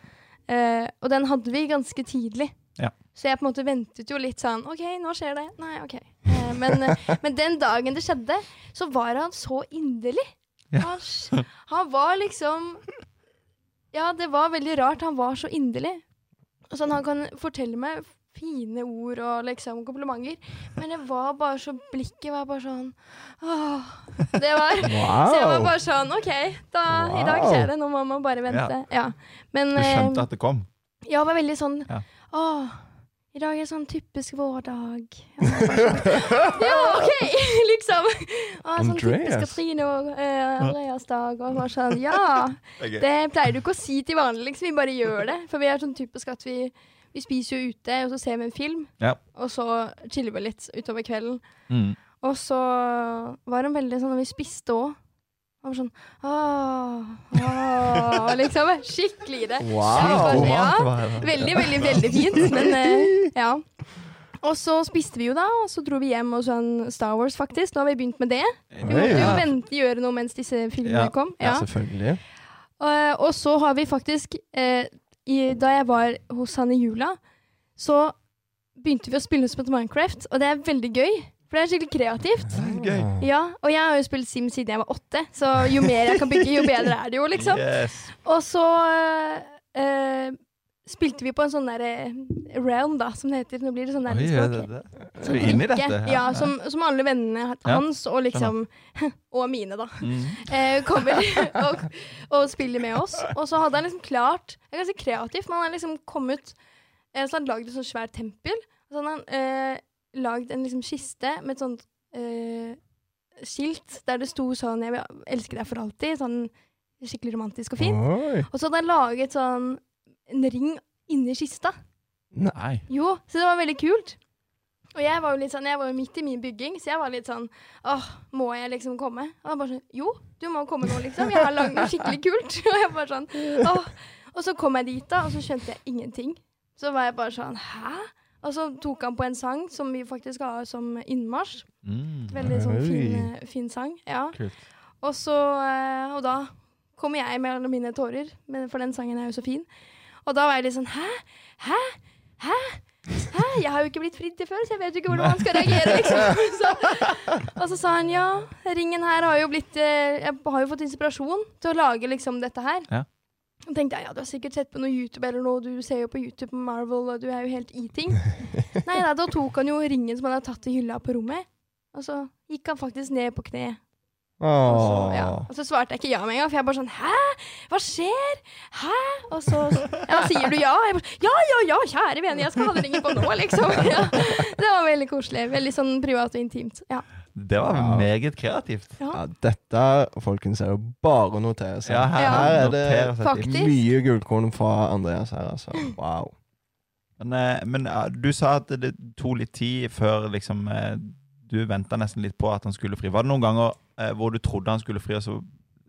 Speaker 2: Eh, og den hadde vi ganske tidlig.
Speaker 3: Ja.
Speaker 2: Så jeg på en måte ventet jo litt sånn OK, nå skjer det. Nei, OK. Eh, men, eh, men den dagen det skjedde, så var han så inderlig.
Speaker 3: Ja.
Speaker 2: Han, s- han var liksom Ja, det var veldig rart. Han var så inderlig. Sånn, han kan fortelle meg fine ord og liksom komplimenter, men det var bare så Blikket var bare sånn Åh. Det var så jeg var
Speaker 1: Wow!
Speaker 2: bare sånn OK, da, i dag
Speaker 1: Wow.
Speaker 2: skjer det. Nå må man bare vente. Ja. Men
Speaker 3: Du skjønte
Speaker 2: eh,
Speaker 3: at det kom?
Speaker 2: jeg var veldig sånn
Speaker 3: Ja.
Speaker 2: Åh, I dag er sånn typisk vårdag. sånn, ja, OK! liksom. Og sånn typisk
Speaker 1: Andreas.
Speaker 2: Katrine og eh, Andreas-dag. Og bare sånn, ja! Det pleier du ikke å si til vanlig, liksom. Vi bare gjør det. For vi er sånn typisk at vi, vi spiser jo ute, og så ser vi en film.
Speaker 3: Ja.
Speaker 2: Og så chiller vi litt utover kvelden.
Speaker 3: Mm.
Speaker 2: Og så var hun veldig sånn når vi spiste òg. Han var sånn «Åh, åh», liksom. Skikkelig i det.
Speaker 1: Wow.
Speaker 2: Sykt sånn, Ja.
Speaker 3: var det da.
Speaker 2: Veldig, veldig, veldig fint, men eh, ja. Og så spiste vi jo da, og så dro vi hjem og sånn Star Wars, faktisk. Nå har vi begynt med det. Vi
Speaker 1: Oi.
Speaker 2: måtte jo
Speaker 3: Ja.
Speaker 2: vente gjøre noe mens disse filmene
Speaker 3: Ja.
Speaker 2: kom.
Speaker 1: Ja,
Speaker 2: Ja.
Speaker 1: selvfølgelig.
Speaker 2: Eh, og så har vi faktisk eh, i, Da jeg var hos han i jula, så begynte vi å spille som et Minecraft, og det er veldig gøy. For det er skikkelig kreativt.
Speaker 3: Gøy.
Speaker 1: Ah.
Speaker 2: Ja, Og jeg har jo spilt Sim siden jeg var åtte, så jo mer jeg kan bygge, jo bedre er det jo, liksom.
Speaker 3: Yes.
Speaker 2: Og så eh, eh, spilte vi på en sånn derre realm, da, som det heter. Nå blir det sånn
Speaker 3: Oi, er det
Speaker 2: nærmest
Speaker 3: det? Er vi inne i dette?
Speaker 2: Ja, som, som alle vennene hans, og liksom Og mine, da.
Speaker 3: Mm.
Speaker 2: Eh, kommer og, og spiller med oss. Og så hadde han liksom klart Det er ganske kreativt, men han har liksom kommet eh, Så han lagd et sånt svært tempel. Og så hadde han eh, lagd en liksom kiste med et sånt eh, skilt der det sto sånn 'Jeg vil elske deg for alltid'. Sånn skikkelig romantisk og fint.
Speaker 1: Oi.
Speaker 2: Og så hadde han laget sånn en ring inni kista.
Speaker 3: Nei.
Speaker 2: Jo, så det var veldig kult. Og jeg var jo litt sånn, jeg var jo midt i min bygging, så jeg var litt sånn Åh, må jeg liksom komme? Og han bare sånn Jo, du må komme nå, liksom. Jeg har lagd noe skikkelig kult. Og jeg bare sånn Åh. Og så kom jeg dit, da, og så skjønte jeg ingenting. Så var jeg bare sånn Hæ? Og så tok han på en sang som vi faktisk har som innmarsj.
Speaker 3: Mm.
Speaker 2: Veldig sånn fin,
Speaker 1: Oi.
Speaker 2: fin sang. Ja.
Speaker 3: Kult.
Speaker 2: Og så eh, Og da kommer jeg med alle mine tårer, men for den sangen er jo så fin. Og da var jeg litt sånn Hæ? Hæ? Hæ? Hæ? Jeg har jo ikke blitt fridd til før, så jeg vet jo ikke hvordan man skal reagere. liksom. Så, og så sa han ja, ringen her har jo blitt eh, Jeg har jo fått inspirasjon til å lage liksom dette her.
Speaker 3: Ja.
Speaker 2: Og tenkte jeg, ja, du har sikkert sett på noe YouTube eller noe, du ser jo på YouTube med Marvel, og du er jo helt i ting. Nei da, da tok han jo ringen som han hadde tatt i hylla på rommet, og så gikk han faktisk ned på kne. Og så,
Speaker 1: Åh.
Speaker 2: ja. og så svarte jeg ikke ja med en gang, for jeg bare sånn Hæ? Hva skjer? Hæ? Og så ja, sier du ja. Og Jeg bare, sånn, ja, ja, ja, kjære vene, jeg skal ha den ringen på nå, liksom. Ja. Det var veldig koselig. Veldig sånn privat og intimt. Ja.
Speaker 3: Det var
Speaker 1: Wow.
Speaker 3: meget kreativt.
Speaker 1: Ja, dette, folkens, er jo bare å notere seg.
Speaker 3: Sånn. Ja, her,
Speaker 2: Ja.
Speaker 1: Her er det
Speaker 3: noterer seg
Speaker 2: Fakt.
Speaker 3: ting.
Speaker 2: Faktisk.
Speaker 1: mye gullkorn fra Andreas her, altså. Wow.
Speaker 3: Men, eh, men eh, du sa at det tok litt tid før liksom eh, Du venta nesten litt på at han skulle fri. Var det noen ganger eh, hvor du trodde han skulle fri, og så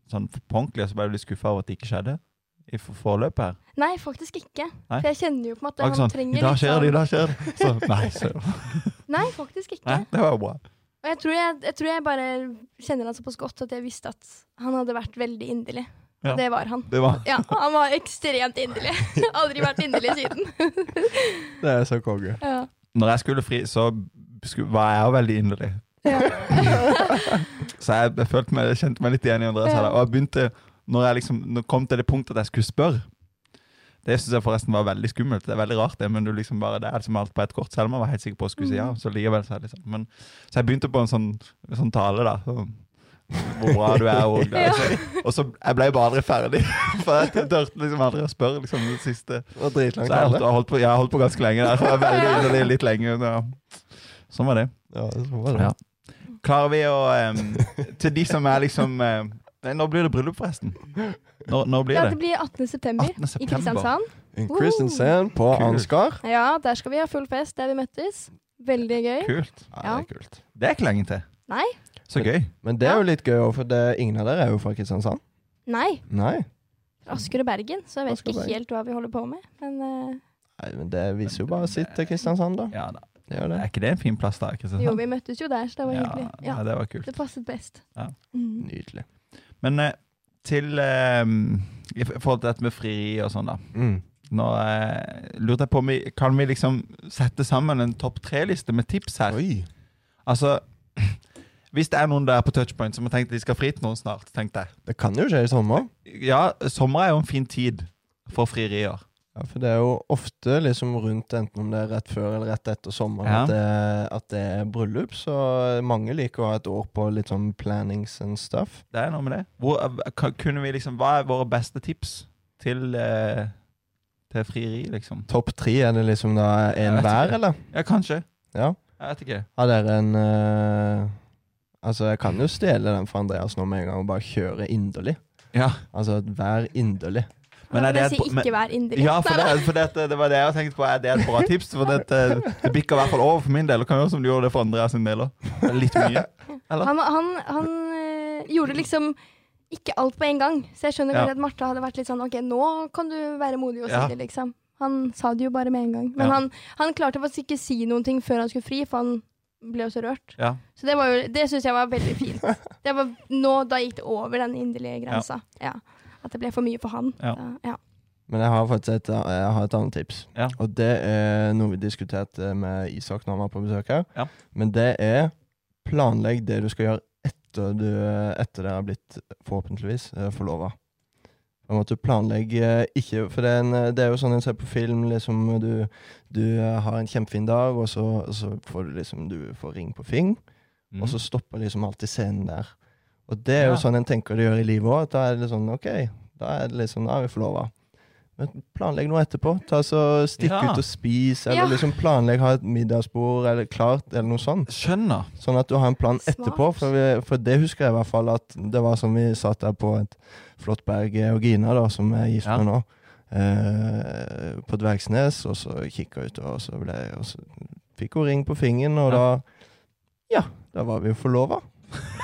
Speaker 3: sånn på ordentlig, og så ble du litt skuffa over at det ikke skjedde? I for- forløpet her.
Speaker 2: Nei, faktisk ikke.
Speaker 3: Nei?
Speaker 2: For jeg kjenner jo på en måte
Speaker 3: Det var
Speaker 2: han
Speaker 3: ikke sånn, I
Speaker 2: trenger
Speaker 3: dag
Speaker 2: litt
Speaker 3: skjer det, i
Speaker 2: sånn-
Speaker 3: dag skjer det. Så, nei, så,
Speaker 2: Nei, faktisk ikke.
Speaker 3: nei, det var jo bra.
Speaker 2: Og jeg tror jeg, jeg tror jeg bare kjenner han såpass godt at jeg visste at han hadde vært veldig inderlig. Og
Speaker 3: Ja.
Speaker 2: det var han.
Speaker 3: Det var,
Speaker 2: Ja, han var ekstremt inderlig. Aldri vært inderlig siden.
Speaker 1: Det er så konge.
Speaker 2: Ja.
Speaker 3: når jeg skulle fri, så sku- var jeg jo veldig inderlig.
Speaker 2: Ja.
Speaker 3: Så jeg, jeg følte meg, jeg kjente meg litt igjen i Andreas. her da. Og jeg begynte, når jeg liksom når jeg kom til det punktet at jeg skulle spørre Det syns jeg forresten var veldig skummelt. Det er veldig rart, det, men du liksom bare, det er liksom alt på ett kort. Selv om jeg var helt sikker på å skulle si ja. Så likevel så er det liksom. men, Så jeg begynte på en sånn, en sånn tale, da. Sånn, hvor bra du er. Og,
Speaker 2: Ja.
Speaker 3: så, og så jeg ble jeg bare aldri ferdig. For jeg turte liksom aldri å spørre liksom, det siste.
Speaker 1: Det var
Speaker 3: Så
Speaker 1: dritlangt
Speaker 3: jeg holdt,
Speaker 1: tale.
Speaker 3: jeg holdt, på, jeg holdt på ganske lenge der. Så jeg var veldig
Speaker 2: Ja.
Speaker 3: innerlig litt lenge. Ja. Sånn var det.
Speaker 1: Ja, det var det.
Speaker 3: Ja. Klarer vi å em, Til de som er liksom em, Nei, Når blir det bryllup, forresten? Når, når blir
Speaker 2: Ja,
Speaker 3: det?
Speaker 2: det blir 18. september
Speaker 3: 18.
Speaker 2: i
Speaker 3: september.
Speaker 2: Kristiansand.
Speaker 1: En Christensen på
Speaker 3: Kult.
Speaker 1: Ansgar.
Speaker 2: Ja, der skal vi ha full fest der vi møttes. Veldig gøy.
Speaker 3: Kult.
Speaker 1: Ja,
Speaker 2: Ja.
Speaker 1: det er kult.
Speaker 3: Det er ikke lenge til.
Speaker 2: Nei.
Speaker 3: Så gøy.
Speaker 1: Men det er jo litt gøy, også, for det, ingen av dere er jo fra Kristiansand.
Speaker 2: Nei,
Speaker 1: Nei.
Speaker 2: fra Asker og Bergen, så jeg vet
Speaker 1: Asker og
Speaker 2: ikke
Speaker 1: Bergen.
Speaker 2: helt hva vi holder på med. Men eh,
Speaker 1: Nei, men Det viser jo bare sitt til Kristiansand, da.
Speaker 3: Ja da.
Speaker 1: Det gjør det.
Speaker 3: Er ikke det en fin plass, da? Kristiansand?
Speaker 2: jo, vi møttes jo der, så det var hyggelig.
Speaker 3: Ja,
Speaker 2: Ja,
Speaker 3: ja, det var kult.
Speaker 2: Det passet best.
Speaker 3: Ja.
Speaker 2: Mm.
Speaker 1: Nydelig.
Speaker 3: Men eh, til em, I f- forhold til dette med frieri og sånn, da.
Speaker 1: Mm.
Speaker 3: Nå eh, lurte jeg på om vi Kan vi liksom sette sammen en topp tre-liste med tips her?
Speaker 1: Oi.
Speaker 3: Altså Hvis det er noen der på touchpoint som har tenkt de skal fri til noen snart, tenkte jeg.
Speaker 1: Det kan jo skje i sommer.
Speaker 3: Ja, sommer er jo en fin tid for frierier.
Speaker 1: Ja, for det er jo ofte liksom rundt, enten om det er rett før eller rett etter sommeren,
Speaker 3: Ja.
Speaker 1: at, det, at det er bryllup. Så mange liker å ha et år på litt sånn plannings and stuff.
Speaker 3: Det er noe med det. Hvor, eh, ka- kunne vi liksom, hva er våre beste tips til, eh, til frieri, liksom.
Speaker 1: Topp tre, er det liksom da
Speaker 3: Jeg
Speaker 1: en
Speaker 3: vet
Speaker 1: hver,
Speaker 3: ikke.
Speaker 1: eller?
Speaker 3: Ja, kanskje.
Speaker 1: Ja.
Speaker 3: Jeg vet ikke.
Speaker 1: Har dere en eh, Altså, jeg kan jo stjele den fra Andreas nå med en gang og bare kjøre inderlig.
Speaker 3: Ja,
Speaker 1: Altså, vær inderlig.
Speaker 3: men er det
Speaker 2: jeg
Speaker 3: et-
Speaker 2: sier
Speaker 3: men-
Speaker 2: ikke vær inderlig.
Speaker 3: ja for,
Speaker 2: Nei,
Speaker 3: det, for det, det var det jeg tenkte på. Er det et bra tips? For det, det bikker i hvert fall over for min del. Og kan gjøre som du gjorde det for Andreas sin del også. Litt mye.
Speaker 2: da. Han, han, han eh, gjorde liksom ikke alt på en gang, så jeg skjønner
Speaker 3: Ja.
Speaker 2: godt at Martha hadde vært litt sånn OK, nå kan du være modig og si
Speaker 3: Ja.
Speaker 2: det, liksom. Han sa det jo bare med en gang. Men
Speaker 3: Ja.
Speaker 2: han, han klarte faktisk ikke si noen ting før han skulle fri, for han ble jo så rørt.
Speaker 3: Ja.
Speaker 2: Så det, var jo- det syns jeg var veldig fint. Det var, nå, da gikk det over den inderlige grensa. Ja. At det ble for mye for han.
Speaker 3: Ja.
Speaker 2: Da- ja.
Speaker 1: Men jeg har faktisk et, jeg har et annet tips.
Speaker 3: Ja.
Speaker 1: Og det er noe vi diskuterte med Isak når han var på besøk her.
Speaker 3: Ja.
Speaker 1: Men det er planlegg det du skal gjøre etter, du, etter dere har blitt forhåpentligvis forlova. På en måte planlegg eh, ikke For det er, en, det er jo sånn en ser på film. liksom Du, du eh, har en kjempefin dag, og så, så får du liksom Du får ring på fing. Og så stopper liksom alltid scenen der. Og det er jo
Speaker 3: Mm. Ja.
Speaker 1: sånn en tenker det gjør i livet òg. Da er det litt sånn OK, da er det liksom, da er vi forlova. Men planlegg noe etterpå. Ta så Stikk
Speaker 3: Ja.
Speaker 1: ut og spis, eller
Speaker 2: Ja.
Speaker 1: liksom planlegg ha et middagsbord eller klart, eller noe sånt.
Speaker 3: Skjønner.
Speaker 1: Sånn at du har en plan
Speaker 2: Smart.
Speaker 1: etterpå. For, vi, for det husker jeg i hvert fall at det var som vi satt der på et flott berg eh, og Gina, da, som er gift
Speaker 3: Ja.
Speaker 1: med nå, eh, på Dvergsnes, og så kikka utover, og så, ble, og så fikk hun ring på fingeren, og
Speaker 3: Ja.
Speaker 1: da Ja, da var vi jo forlova.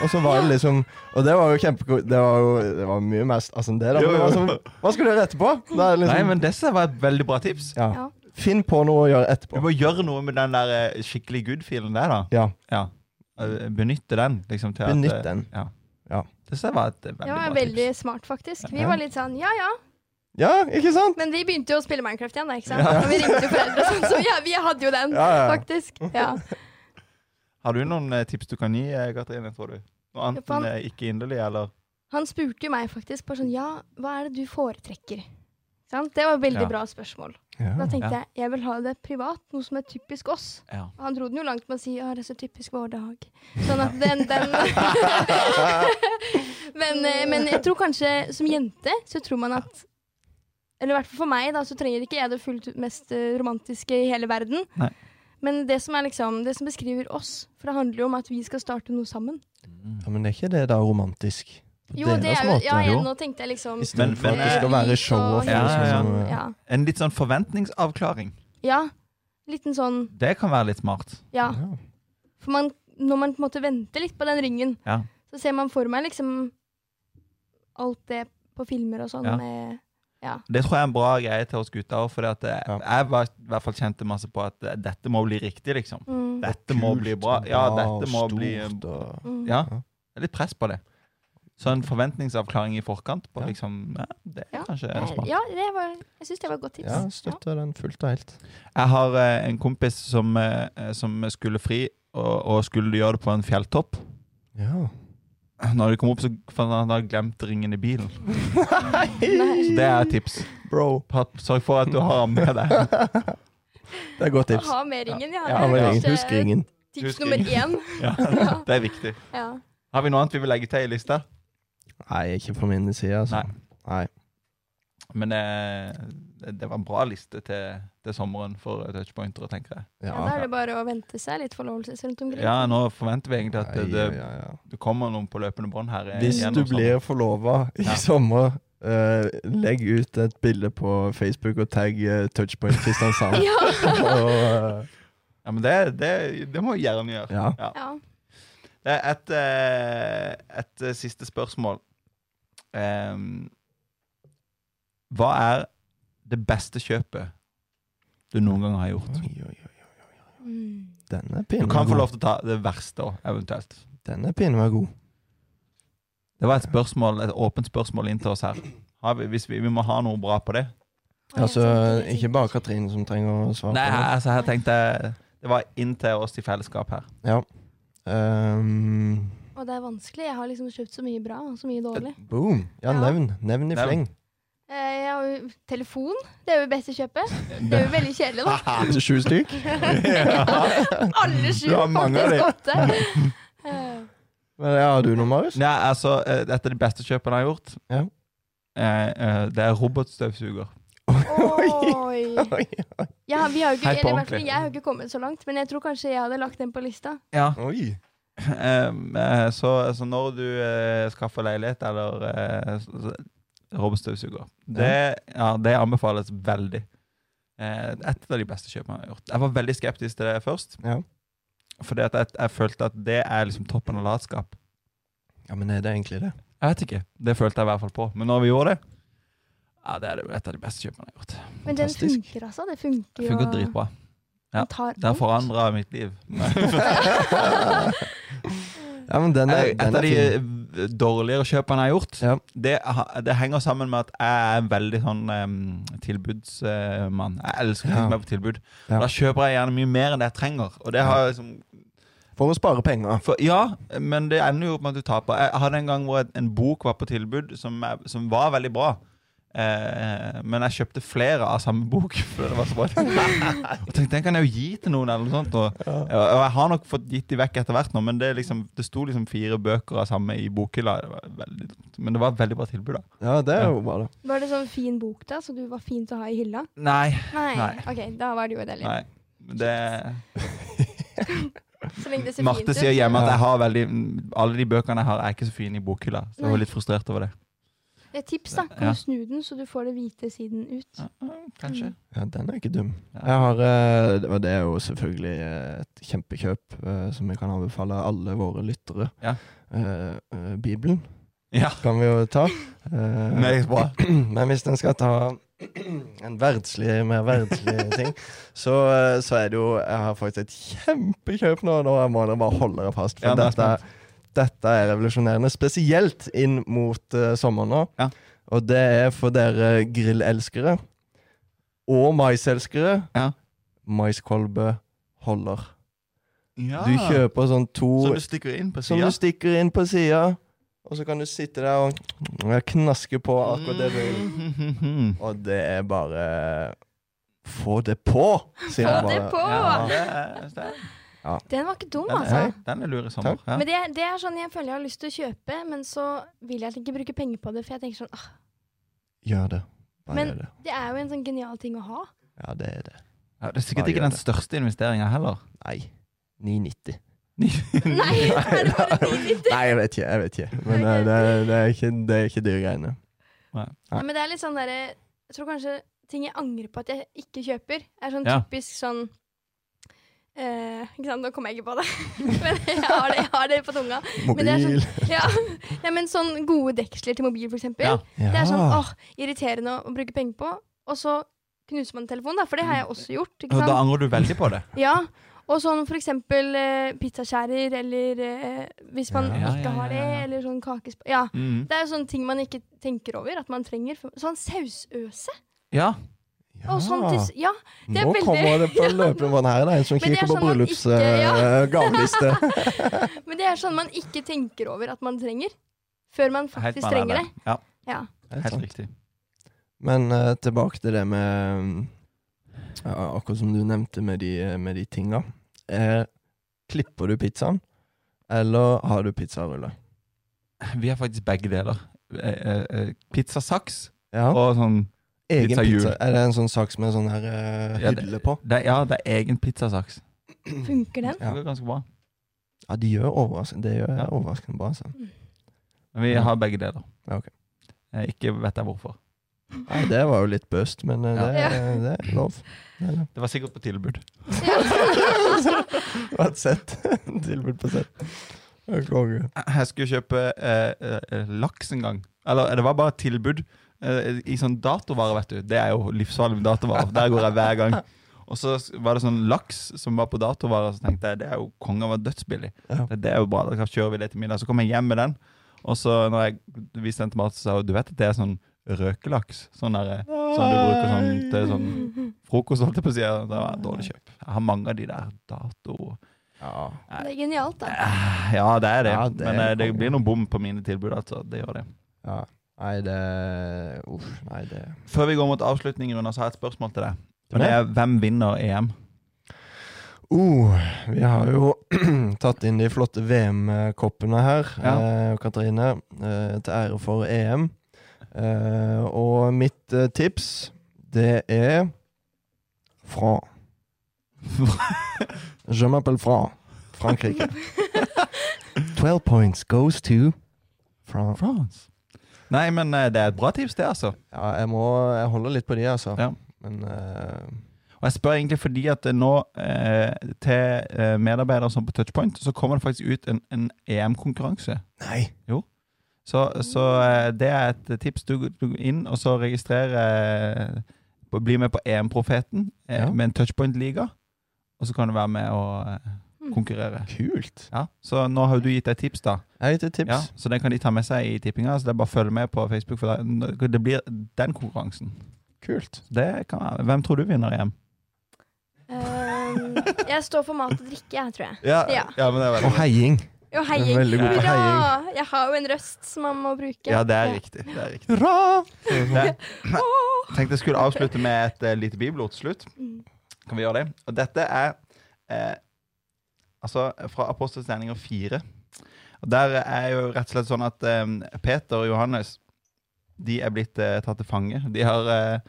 Speaker 1: Og så var det liksom Og det var jo kjempegodt. Det var jo det var mye mer stas enn det. da. Men
Speaker 3: Jo,
Speaker 1: det var
Speaker 3: jo.
Speaker 1: sånn, hva skal du gjøre etterpå? Da er det
Speaker 3: Nei,
Speaker 1: liksom,
Speaker 3: men disse var et veldig bra tips.
Speaker 1: ja.
Speaker 2: Ja.
Speaker 1: Finn på noe å gjøre
Speaker 3: Du
Speaker 1: etterpå.
Speaker 3: må gjøre noe med den der eh, skikkelig good-feelen der, da.
Speaker 1: Ja,
Speaker 3: Ja. Eh, Benytte den. liksom til
Speaker 1: Benytt
Speaker 3: at, eh,
Speaker 1: den.
Speaker 3: Ja.
Speaker 1: Ja.
Speaker 3: Disse var et eh, veldig
Speaker 2: Det var
Speaker 3: bra
Speaker 2: veldig
Speaker 3: tips.
Speaker 2: smart, faktisk. Vi
Speaker 1: Ja.
Speaker 2: var litt sånn ja ja,
Speaker 1: ja ikke sant?
Speaker 2: men vi begynte jo å spille Minecraft igjen, da, ikke sant? Og vi ringte jo foreldre og sånn, så ja, vi hadde jo den,
Speaker 1: Ja, ja.
Speaker 2: faktisk. Ja.
Speaker 3: Har du noen eh, tips du kan gi, eh, Katrine, tror du? Noe annet
Speaker 2: Ja, faen.
Speaker 3: enn eh, ikke inderlig, eller?
Speaker 2: Han spurte jo meg faktisk bare sånn ja, hva er det du foretrekker? Ikke Sant? Det var et veldig
Speaker 3: Ja.
Speaker 2: bra spørsmål. Da
Speaker 1: Ja.
Speaker 2: tenkte
Speaker 3: Ja.
Speaker 2: jeg jeg vil ha det privat, noe som er typisk oss.
Speaker 3: Ja.
Speaker 2: Og han dro den jo langt med å si ja, det er så typisk vår dag. Sånn at den, den men, eh, men jeg tror kanskje som jente så tror man at Eller i hvert fall for meg, da, så trenger ikke jeg det fullt ut mest eh, romantiske i hele verden.
Speaker 3: Nei.
Speaker 2: Men det som, er liksom, det som beskriver oss, for det handler jo om at vi skal starte noe sammen.
Speaker 1: Ja, men er ikke det da romantisk? På
Speaker 2: Jo, det
Speaker 1: deres
Speaker 2: er jo
Speaker 1: måte.
Speaker 2: Ja, jeg,
Speaker 3: jo.
Speaker 2: nå tenkte jeg liksom
Speaker 1: I stedet
Speaker 3: Men-
Speaker 1: for at
Speaker 3: men,
Speaker 1: det skal
Speaker 2: eh,
Speaker 1: være show og
Speaker 2: og-
Speaker 1: ja,
Speaker 3: Ja, ja,
Speaker 1: Som,
Speaker 2: Ja.
Speaker 3: En litt sånn forventningsavklaring.
Speaker 2: ja. Liten sånn
Speaker 3: Det kan være litt smart.
Speaker 2: Ja.
Speaker 1: ja.
Speaker 2: For man, når man på en måte venter litt på den ringen,
Speaker 3: Ja.
Speaker 2: så ser man for meg liksom alt det på filmer og sånn.
Speaker 3: Ja.
Speaker 2: Med,
Speaker 3: Det tror jeg er en bra greie til oss gutter òg, for
Speaker 1: Ja.
Speaker 3: eh, jeg var, i hvert fall kjente masse på at eh, dette må bli riktig, liksom.
Speaker 2: mm,
Speaker 3: Dette må
Speaker 1: Kult
Speaker 3: bli bra.
Speaker 1: og
Speaker 3: Ja,
Speaker 1: bra og
Speaker 3: dette må bli eh,
Speaker 1: stort og...
Speaker 2: mm.
Speaker 3: Ja.
Speaker 1: Ja.
Speaker 3: Det er litt press på det. Så en forventningsavklaring i forkant på
Speaker 1: Ja.
Speaker 3: liksom ja, Det er
Speaker 2: Ja.
Speaker 3: kanskje
Speaker 2: Eh,
Speaker 3: smart.
Speaker 2: ja, det var, jeg syns det var et godt tips.
Speaker 1: Ja, støtter den fullt og helt.
Speaker 3: Jeg har eh, en kompis som, eh, eh, som skulle fri, og, og skulle gjøre det på en fjelltopp.
Speaker 1: Ja.
Speaker 3: Når de kom opp, så fant han at han hadde glemt ringen i bilen.
Speaker 2: Nei.
Speaker 3: Så det er et tips.
Speaker 1: Bro.
Speaker 3: Pat- Sørg for at du har den med deg.
Speaker 1: Det er godt
Speaker 2: Å
Speaker 1: tips.
Speaker 2: Ha med ringen, ja.
Speaker 1: Ja,
Speaker 2: det er
Speaker 1: men
Speaker 2: kanskje
Speaker 1: Husk ringen.
Speaker 2: Tips
Speaker 3: Husk
Speaker 2: nummer én.
Speaker 3: ringen. Ja, det er viktig.
Speaker 2: Ja.
Speaker 3: Har vi noe annet vi vil legge til i lista?
Speaker 1: Nei, ikke på min side, altså.
Speaker 3: Nei.
Speaker 1: Nei.
Speaker 3: Men eh, det- det var en bra liste til, til sommeren for eh, touchpointere, tenker jeg.
Speaker 2: Ja, da
Speaker 1: Ja.
Speaker 2: er det bare å vente seg litt forlovelse rundt omkring.
Speaker 3: Ja, nå forventer vi egentlig at
Speaker 1: Nei,
Speaker 3: det,
Speaker 1: ja, ja.
Speaker 3: det kommer noen på løpende bånd her. eh,
Speaker 1: Hvis
Speaker 3: gjennom
Speaker 1: du
Speaker 3: sommeren.
Speaker 1: blir forlova i
Speaker 3: Ja.
Speaker 1: sommer, eh, legg ut et bilde på Facebook og tagg eh, Touchpoint Kristiansand. og, eh,
Speaker 3: Ja, men det, det, det må vi gjerne gjøre.
Speaker 1: ja.
Speaker 2: Ja.
Speaker 3: Det er et, eh, et eh, siste spørsmål. Em, hva er det beste kjøpet du noen gang har gjort?
Speaker 1: Oi, oi, oi.
Speaker 2: Mm.
Speaker 1: Den er
Speaker 3: Du
Speaker 1: pinlig.
Speaker 3: kan få lov til å ta det verste òg, eventuelt.
Speaker 1: Den er pinlig god.
Speaker 3: Det var et spørsmål, et åpent spørsmål inn til oss her. Har vi, hvis vi, vi må ha noe bra på det.
Speaker 2: Å, jeg liksom-
Speaker 1: Altså,
Speaker 2: tenkte litt.
Speaker 1: ikke bare Katrine som trenger å svare
Speaker 3: Nei,
Speaker 1: på det.
Speaker 3: altså, her tenkte jeg Det var inn til oss i fellesskap her.
Speaker 1: Ehm,
Speaker 2: Og det er vanskelig. Jeg har liksom kjøpt så mye bra og så mye dårlig.
Speaker 1: boom. Ja,
Speaker 2: Ja.
Speaker 1: nevn. Nevn i
Speaker 3: Nevn.
Speaker 1: fleng.
Speaker 2: Eh, Jeg har jo telefon. Det er jo det beste kjøpet. Det er jo veldig kjedelig, da.
Speaker 1: Sju stykk?
Speaker 2: Alle sju,
Speaker 3: Du har mange av
Speaker 2: faktisk åtte. Eh,
Speaker 1: Men ja, har du noe, Marius?
Speaker 3: Nei, altså, eh, dette er det beste kjøpet jeg har gjort.
Speaker 1: Ja.
Speaker 3: Eh, eh, Det er robotstøvsuger.
Speaker 2: Oi!
Speaker 1: Oi, oi.
Speaker 2: Ja, vi har jo ikke,
Speaker 3: Helt på
Speaker 2: eller, i hvert fall,
Speaker 3: ordentlig.
Speaker 2: jeg har jo ikke kommet så langt, men jeg tror kanskje jeg hadde lagt den på lista.
Speaker 3: Ja.
Speaker 1: Oi.
Speaker 3: Ehm, eh, så, så når du eh, skaffer leilighet eller eh, s- s- robotstøvsuger det, ja, det anbefales veldig. Eh, et av de beste kjøpene jeg har gjort. Jeg var veldig skeptisk til det først.
Speaker 1: Ja.
Speaker 3: Fordi at jeg, jeg følte at det er liksom toppen av latskap.
Speaker 1: ja, men er det egentlig det?
Speaker 3: Jeg vet ikke. Det følte jeg i hvert fall på. Men når vi gjorde det ja, Det er det- et av de beste kjøpene jeg har gjort.
Speaker 2: Men den
Speaker 1: Fantastisk.
Speaker 2: funker, altså. Det funker
Speaker 3: Det
Speaker 2: jo.
Speaker 3: funker dritbra. ja.
Speaker 2: Den tar
Speaker 3: Det har
Speaker 2: alt.
Speaker 3: forandra mitt liv.
Speaker 1: Ja, men den er,
Speaker 3: Jeg- Et
Speaker 1: den
Speaker 3: av
Speaker 1: er fin.
Speaker 3: de dårligere kjøpene jeg har gjort,
Speaker 1: Ja.
Speaker 3: det, ha- det henger sammen med at jeg er en veldig sånn em, tilbudsmann. Jeg elsker ting
Speaker 1: Ja.
Speaker 3: som er på tilbud.
Speaker 1: Ja.
Speaker 3: Da kjøper jeg gjerne mye mer enn det jeg trenger. Og det har jeg liksom
Speaker 1: For å spare penger.
Speaker 3: for, Ja, men det ender jo opp med at du taper. Jeg hadde en gang hvor et- en bok var på tilbud som, jeg, som var veldig bra. Eh, men jeg kjøpte flere av samme bok. For det var så bra Jeg tenkte, Den kan jeg jo gi til noen, eller noe sånt. Og, og jeg har nok fått gitt de vekk etter hvert, nå men det, er liksom, det sto liksom fire bøker av samme i bokhylla. Det var veldig, dumt. men det var et veldig bra tilbud, da.
Speaker 1: Ja, det er jo bra, da.
Speaker 2: Var det sånn fin bok, da, så du var fint å ha i hylla?
Speaker 3: Nei.
Speaker 2: Nei.
Speaker 3: Nei.
Speaker 2: Ok, da var det jo deilig.
Speaker 3: nei Men det,
Speaker 2: Så lenge det ser fint
Speaker 3: Marte
Speaker 2: ut.
Speaker 3: sier hjemme at
Speaker 1: Ja.
Speaker 3: jeg har veldig, alle de bøkene jeg har, er ikke så fine i bokhylla. Så jeg var litt frustrert over det.
Speaker 2: Det er tips, da. Kan
Speaker 3: Ja.
Speaker 2: du snu den, så du får det hvite siden ut?
Speaker 3: Kanskje.
Speaker 1: Ja, den er ikke dum.
Speaker 3: Ja.
Speaker 1: Jeg har, eh, det- og det er jo selvfølgelig eh, et kjempekjøp eh, som jeg kan anbefale alle våre lyttere.
Speaker 3: Ja.
Speaker 1: Eh, eh, Bibelen
Speaker 3: Ja.
Speaker 1: kan vi jo ta. Eh,
Speaker 3: Meget bra.
Speaker 1: Men hvis en skal ta en verdslig, mer verdslig ting, så, eh, så er det jo Jeg har faktisk et kjempekjøp nå, nå må dere bare holde dere fast. For
Speaker 3: Ja, nå er jeg
Speaker 1: dette, dette er revolusjonerende, spesielt inn mot eh, sommeren nå.
Speaker 3: Ja.
Speaker 1: Og det er for dere grillelskere og maiselskere.
Speaker 3: Ja.
Speaker 1: Maiskolbe holder.
Speaker 3: Ja.
Speaker 1: Du kjøper sånn to
Speaker 3: Så du stikker inn på
Speaker 1: som
Speaker 3: sida?
Speaker 1: du stikker inn på sida, og så kan du sitte der og knaske på akkurat det du vil.
Speaker 3: Mm. vil.
Speaker 1: Og det er bare Få det på! Sier
Speaker 2: Få
Speaker 1: jeg bare.
Speaker 2: det på!
Speaker 3: Ja, det er- det er-
Speaker 2: Den var ikke dum,
Speaker 3: den er-
Speaker 2: altså.
Speaker 3: Den er lur i sommer. Ja.
Speaker 2: Men det, det er sånn jeg føler jeg har lyst til å kjøpe, men så vil jeg ikke bruke penger på det. For jeg tenker sånn, ah,
Speaker 1: Gjør det. Bare
Speaker 2: Men-
Speaker 1: gjør det.
Speaker 2: det er jo en sånn genial ting å ha.
Speaker 1: Ja, det er det.
Speaker 3: Ja, det er sikkert
Speaker 1: Bare
Speaker 3: ikke
Speaker 1: gjør
Speaker 3: den
Speaker 1: det.
Speaker 3: største investeringa heller.
Speaker 1: Nei. 990.
Speaker 2: Nei, er det bare dritdyrt?
Speaker 1: Nei, jeg vet ikke. jeg vet ikke Men eh, det, det, er, ikke, det er ikke dyre greiene.
Speaker 2: Ja, men det er litt sånn derre Jeg tror kanskje ting jeg angrer på at jeg ikke kjøper, er sånn
Speaker 3: Ja.
Speaker 2: typisk sånn eh, Ikke sant, nå kommer jeg ikke på det, men jeg har det, jeg har det på tunga. Men
Speaker 1: Mobil.
Speaker 2: det er sånn- Ja. Nei, men sånn gode deksler til mobil, for eksempel.
Speaker 3: Ja.
Speaker 2: Det er sånn åh, irriterende å bruke penger på. Og så knuser man telefonen, da, for det har jeg også gjort.
Speaker 3: Og
Speaker 2: ikke sant?
Speaker 3: Da angrer du veldig på det.
Speaker 2: Ja, og sånn for eksempel eh, pizzaskjærer, eller eh, hvis man
Speaker 1: Ja, ja,
Speaker 2: ikke
Speaker 3: ja,
Speaker 2: har
Speaker 3: ja,
Speaker 2: det,
Speaker 3: ja.
Speaker 2: eller sånn kakesp... Ja.
Speaker 3: Mm.
Speaker 2: Det er jo sånne ting man ikke tenker over at man trenger. Sånn sausøse.
Speaker 3: Ja.
Speaker 2: Og sånn til, s- ja, det er
Speaker 1: Nå
Speaker 2: veldig-
Speaker 1: kommer det på løpende vann her. Det er en som
Speaker 2: Men det er
Speaker 1: kikker på
Speaker 2: sånn man
Speaker 1: bryllups
Speaker 2: ikke- ja.
Speaker 1: eh, gaveliste.
Speaker 2: men det er sånn man ikke tenker over at man trenger, før man
Speaker 3: Helt
Speaker 2: faktisk
Speaker 3: med
Speaker 2: trenger det.
Speaker 3: deg. Ja,
Speaker 2: Ja.
Speaker 3: helt riktig.
Speaker 1: Sånn. Men eh, tilbake til det med mm, ja, Akkurat som du nevnte med de, med de tinga. Eh, klipper du pizzaen, eller har du pizzarulle?
Speaker 3: Vi har faktisk begge deler. Eh, eh, eh, Pizzasaks
Speaker 1: Ja.
Speaker 3: og sånn
Speaker 1: Egen
Speaker 3: pizzahjul.
Speaker 1: pizza. Er det en sånn saks med sånn her eh,
Speaker 3: Ja, det-
Speaker 1: hylle på?
Speaker 3: det, er- Ja, det er egen pizzasaks.
Speaker 2: Funker den?
Speaker 1: Ja.
Speaker 3: Det går ganske bra.
Speaker 1: Ja, de gjør overraskende, det gjør
Speaker 3: Ja.
Speaker 1: overraskende bra. Altså.
Speaker 3: Men vi
Speaker 1: Ja.
Speaker 3: har begge deler.
Speaker 1: Ja, ok.
Speaker 3: Eh, Ikke vet jeg hvorfor.
Speaker 1: Nei, det var jo litt bøst, men eh,
Speaker 3: Ja.
Speaker 1: det, er- det er lov. Det er lov.
Speaker 3: Det var sikkert på tilbud.
Speaker 1: Det var et sett. Tilbud på sett. Det er konge.
Speaker 3: Jeg skulle kjøpe eh, eh, laks en gang. Eller det var bare tilbud eh, i sånn datovare, vet du. Det er jo livsfarlig med datovare. for Der går jeg hver gang. Og så var det sånn laks som var på datovare, og så tenkte jeg det er jo kongen var dødsbillig.
Speaker 1: Ja.
Speaker 3: Det, det er jo bra, da kjører vi det til middag. Så kom jeg hjem med den, og så når jeg viste den til Marte, så sa hun du vet at det er sånn røkelaks? Sånn der, eh, sånn du bruker sånn, til sånn frokost, holdt jeg på å si. Det var et dårlig kjøp. Jeg har mange av de der dato...
Speaker 1: Ja.
Speaker 2: Det er genialt, da.
Speaker 3: Ja, det er det.
Speaker 1: Ja, det er
Speaker 3: Men eh, det
Speaker 1: kongen.
Speaker 3: blir noen bom på mine tilbud, altså. Det gjør det.
Speaker 1: ja. Nei, det Uff, nei, det
Speaker 3: Før vi går mot avslutningen, Rune, så har jeg et spørsmål til deg.
Speaker 1: Til
Speaker 3: Og det
Speaker 1: meg?
Speaker 3: er hvem vinner E EM?
Speaker 1: Oh, vi har jo tatt inn de flotte VM-koppene her,
Speaker 3: Ja.
Speaker 1: eh, Katrine, eh, til ære for EM. Eh, og mitt eh, tips, Det er fra Je m'appelle fra Frankrike. 12 points goes to fra
Speaker 3: France. Nei, men eh, det er et bra tips, det, altså.
Speaker 1: Ja, jeg må Jeg holder litt på de, altså.
Speaker 3: Ja.
Speaker 1: Men eh,
Speaker 3: Og jeg spør egentlig fordi at det nå eh, til eh, medarbeidere som på Touchpoint, så kommer det faktisk ut en, en EM-konkurranse.
Speaker 1: Nei.
Speaker 3: Så, så eh, det er et tips. Du, du går inn og så registrerer eh, på- Bli med på EM-profeten eh,
Speaker 1: Ja.
Speaker 3: med en Touchpoint-liga, og så kan du være med og eh,
Speaker 2: Mm.
Speaker 3: konkurrere.
Speaker 1: Kult.
Speaker 3: Ja, Så nå har du gitt deg tips, da.
Speaker 1: Jeg har gitt et tips.
Speaker 3: Ja, så den kan de ta med seg i tippinga. Så det er bare å følge med på Facebook, for da- det blir den konkurransen.
Speaker 1: Kult.
Speaker 3: Det kan være. Hvem tror du vinner E EM?
Speaker 2: Ehm, jeg står for mat og drikke, jeg, tror jeg. Ja.
Speaker 3: men det er
Speaker 1: Og heiing.
Speaker 2: Og
Speaker 1: Du
Speaker 2: heiing.
Speaker 1: er veldig god på
Speaker 2: Hurra!
Speaker 1: heiing.
Speaker 2: Jeg har jo en røst som man må bruke.
Speaker 3: Ja, det er riktig. Det er riktig.
Speaker 1: Hurra!
Speaker 3: Det- tenkte jeg skulle avslutte med et eh, lite bibelord til slutt.
Speaker 2: Mm.
Speaker 3: Kan vi gjøre det? Og dette er eh, altså fra Apostelens gjerninger 4. Og der er jo rett og slett sånn at eh, Peter og Johannes de er blitt eh, tatt til fange. De har eh,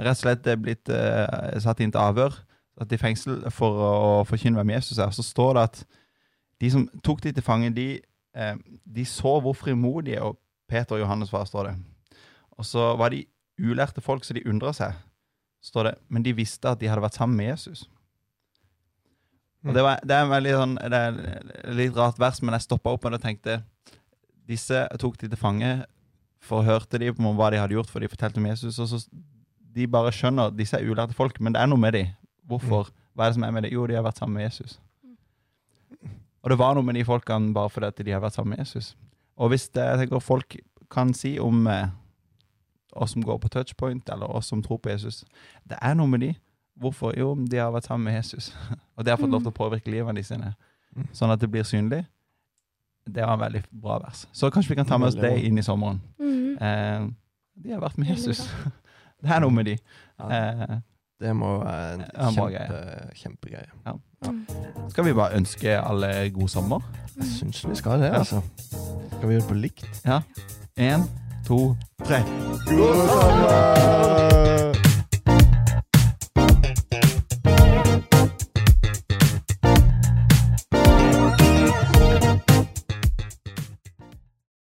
Speaker 3: rett og slett eh, blitt eh, satt inn til avhør, satt i fengsel for å, å forkynne hvem Jesus er. Så står det at de som tok de til fange, de, eh, de så hvor frimodige og Peter og Johannes var, står det. Og så var de ulærte folk, så de undra seg. Står det, Men de visste at de hadde vært sammen med Jesus. Og det, var, det er en veldig sånn, det er et litt rart vers, men jeg stoppa opp og da tenkte Disse tok de til fange, forhørte de om hva de hadde gjort, for de fortalte om Jesus. og så De bare skjønner Disse er ulærte folk, men det er noe med dem. Hvorfor? Hva er det som er med dem? Jo, de har vært sammen med Jesus. Og det var noe med de folkene bare fordi at de har vært sammen med Jesus. Og hvis det, jeg tenker folk kan si om eh, oss som går på touchpoint, eller oss som tror på Jesus. Det er noe med de. Hvorfor? Jo, de har vært sammen med Jesus. Og de har fått lov til å påvirke livet de sine,
Speaker 1: Mm.
Speaker 3: sånn at det blir synlig. Det var en veldig bra vers. Så kanskje vi kan ta med oss
Speaker 1: Veldig
Speaker 3: det
Speaker 1: bra.
Speaker 3: inn i sommeren.
Speaker 2: Mhm.
Speaker 3: Eh, de har vært med
Speaker 2: Veldig
Speaker 3: Jesus. Det er noe med de.
Speaker 1: Ja,
Speaker 3: Eh,
Speaker 1: det må være en
Speaker 3: Ja, bra
Speaker 1: kjempe, kjempegreie.
Speaker 2: Mm.
Speaker 3: skal vi bare ønske alle god sommer?
Speaker 1: Jeg syns vi skal det,
Speaker 3: Ja.
Speaker 1: altså. Skal vi gjøre det på likt?
Speaker 3: Ja. Én, to, tre.
Speaker 1: God sommer!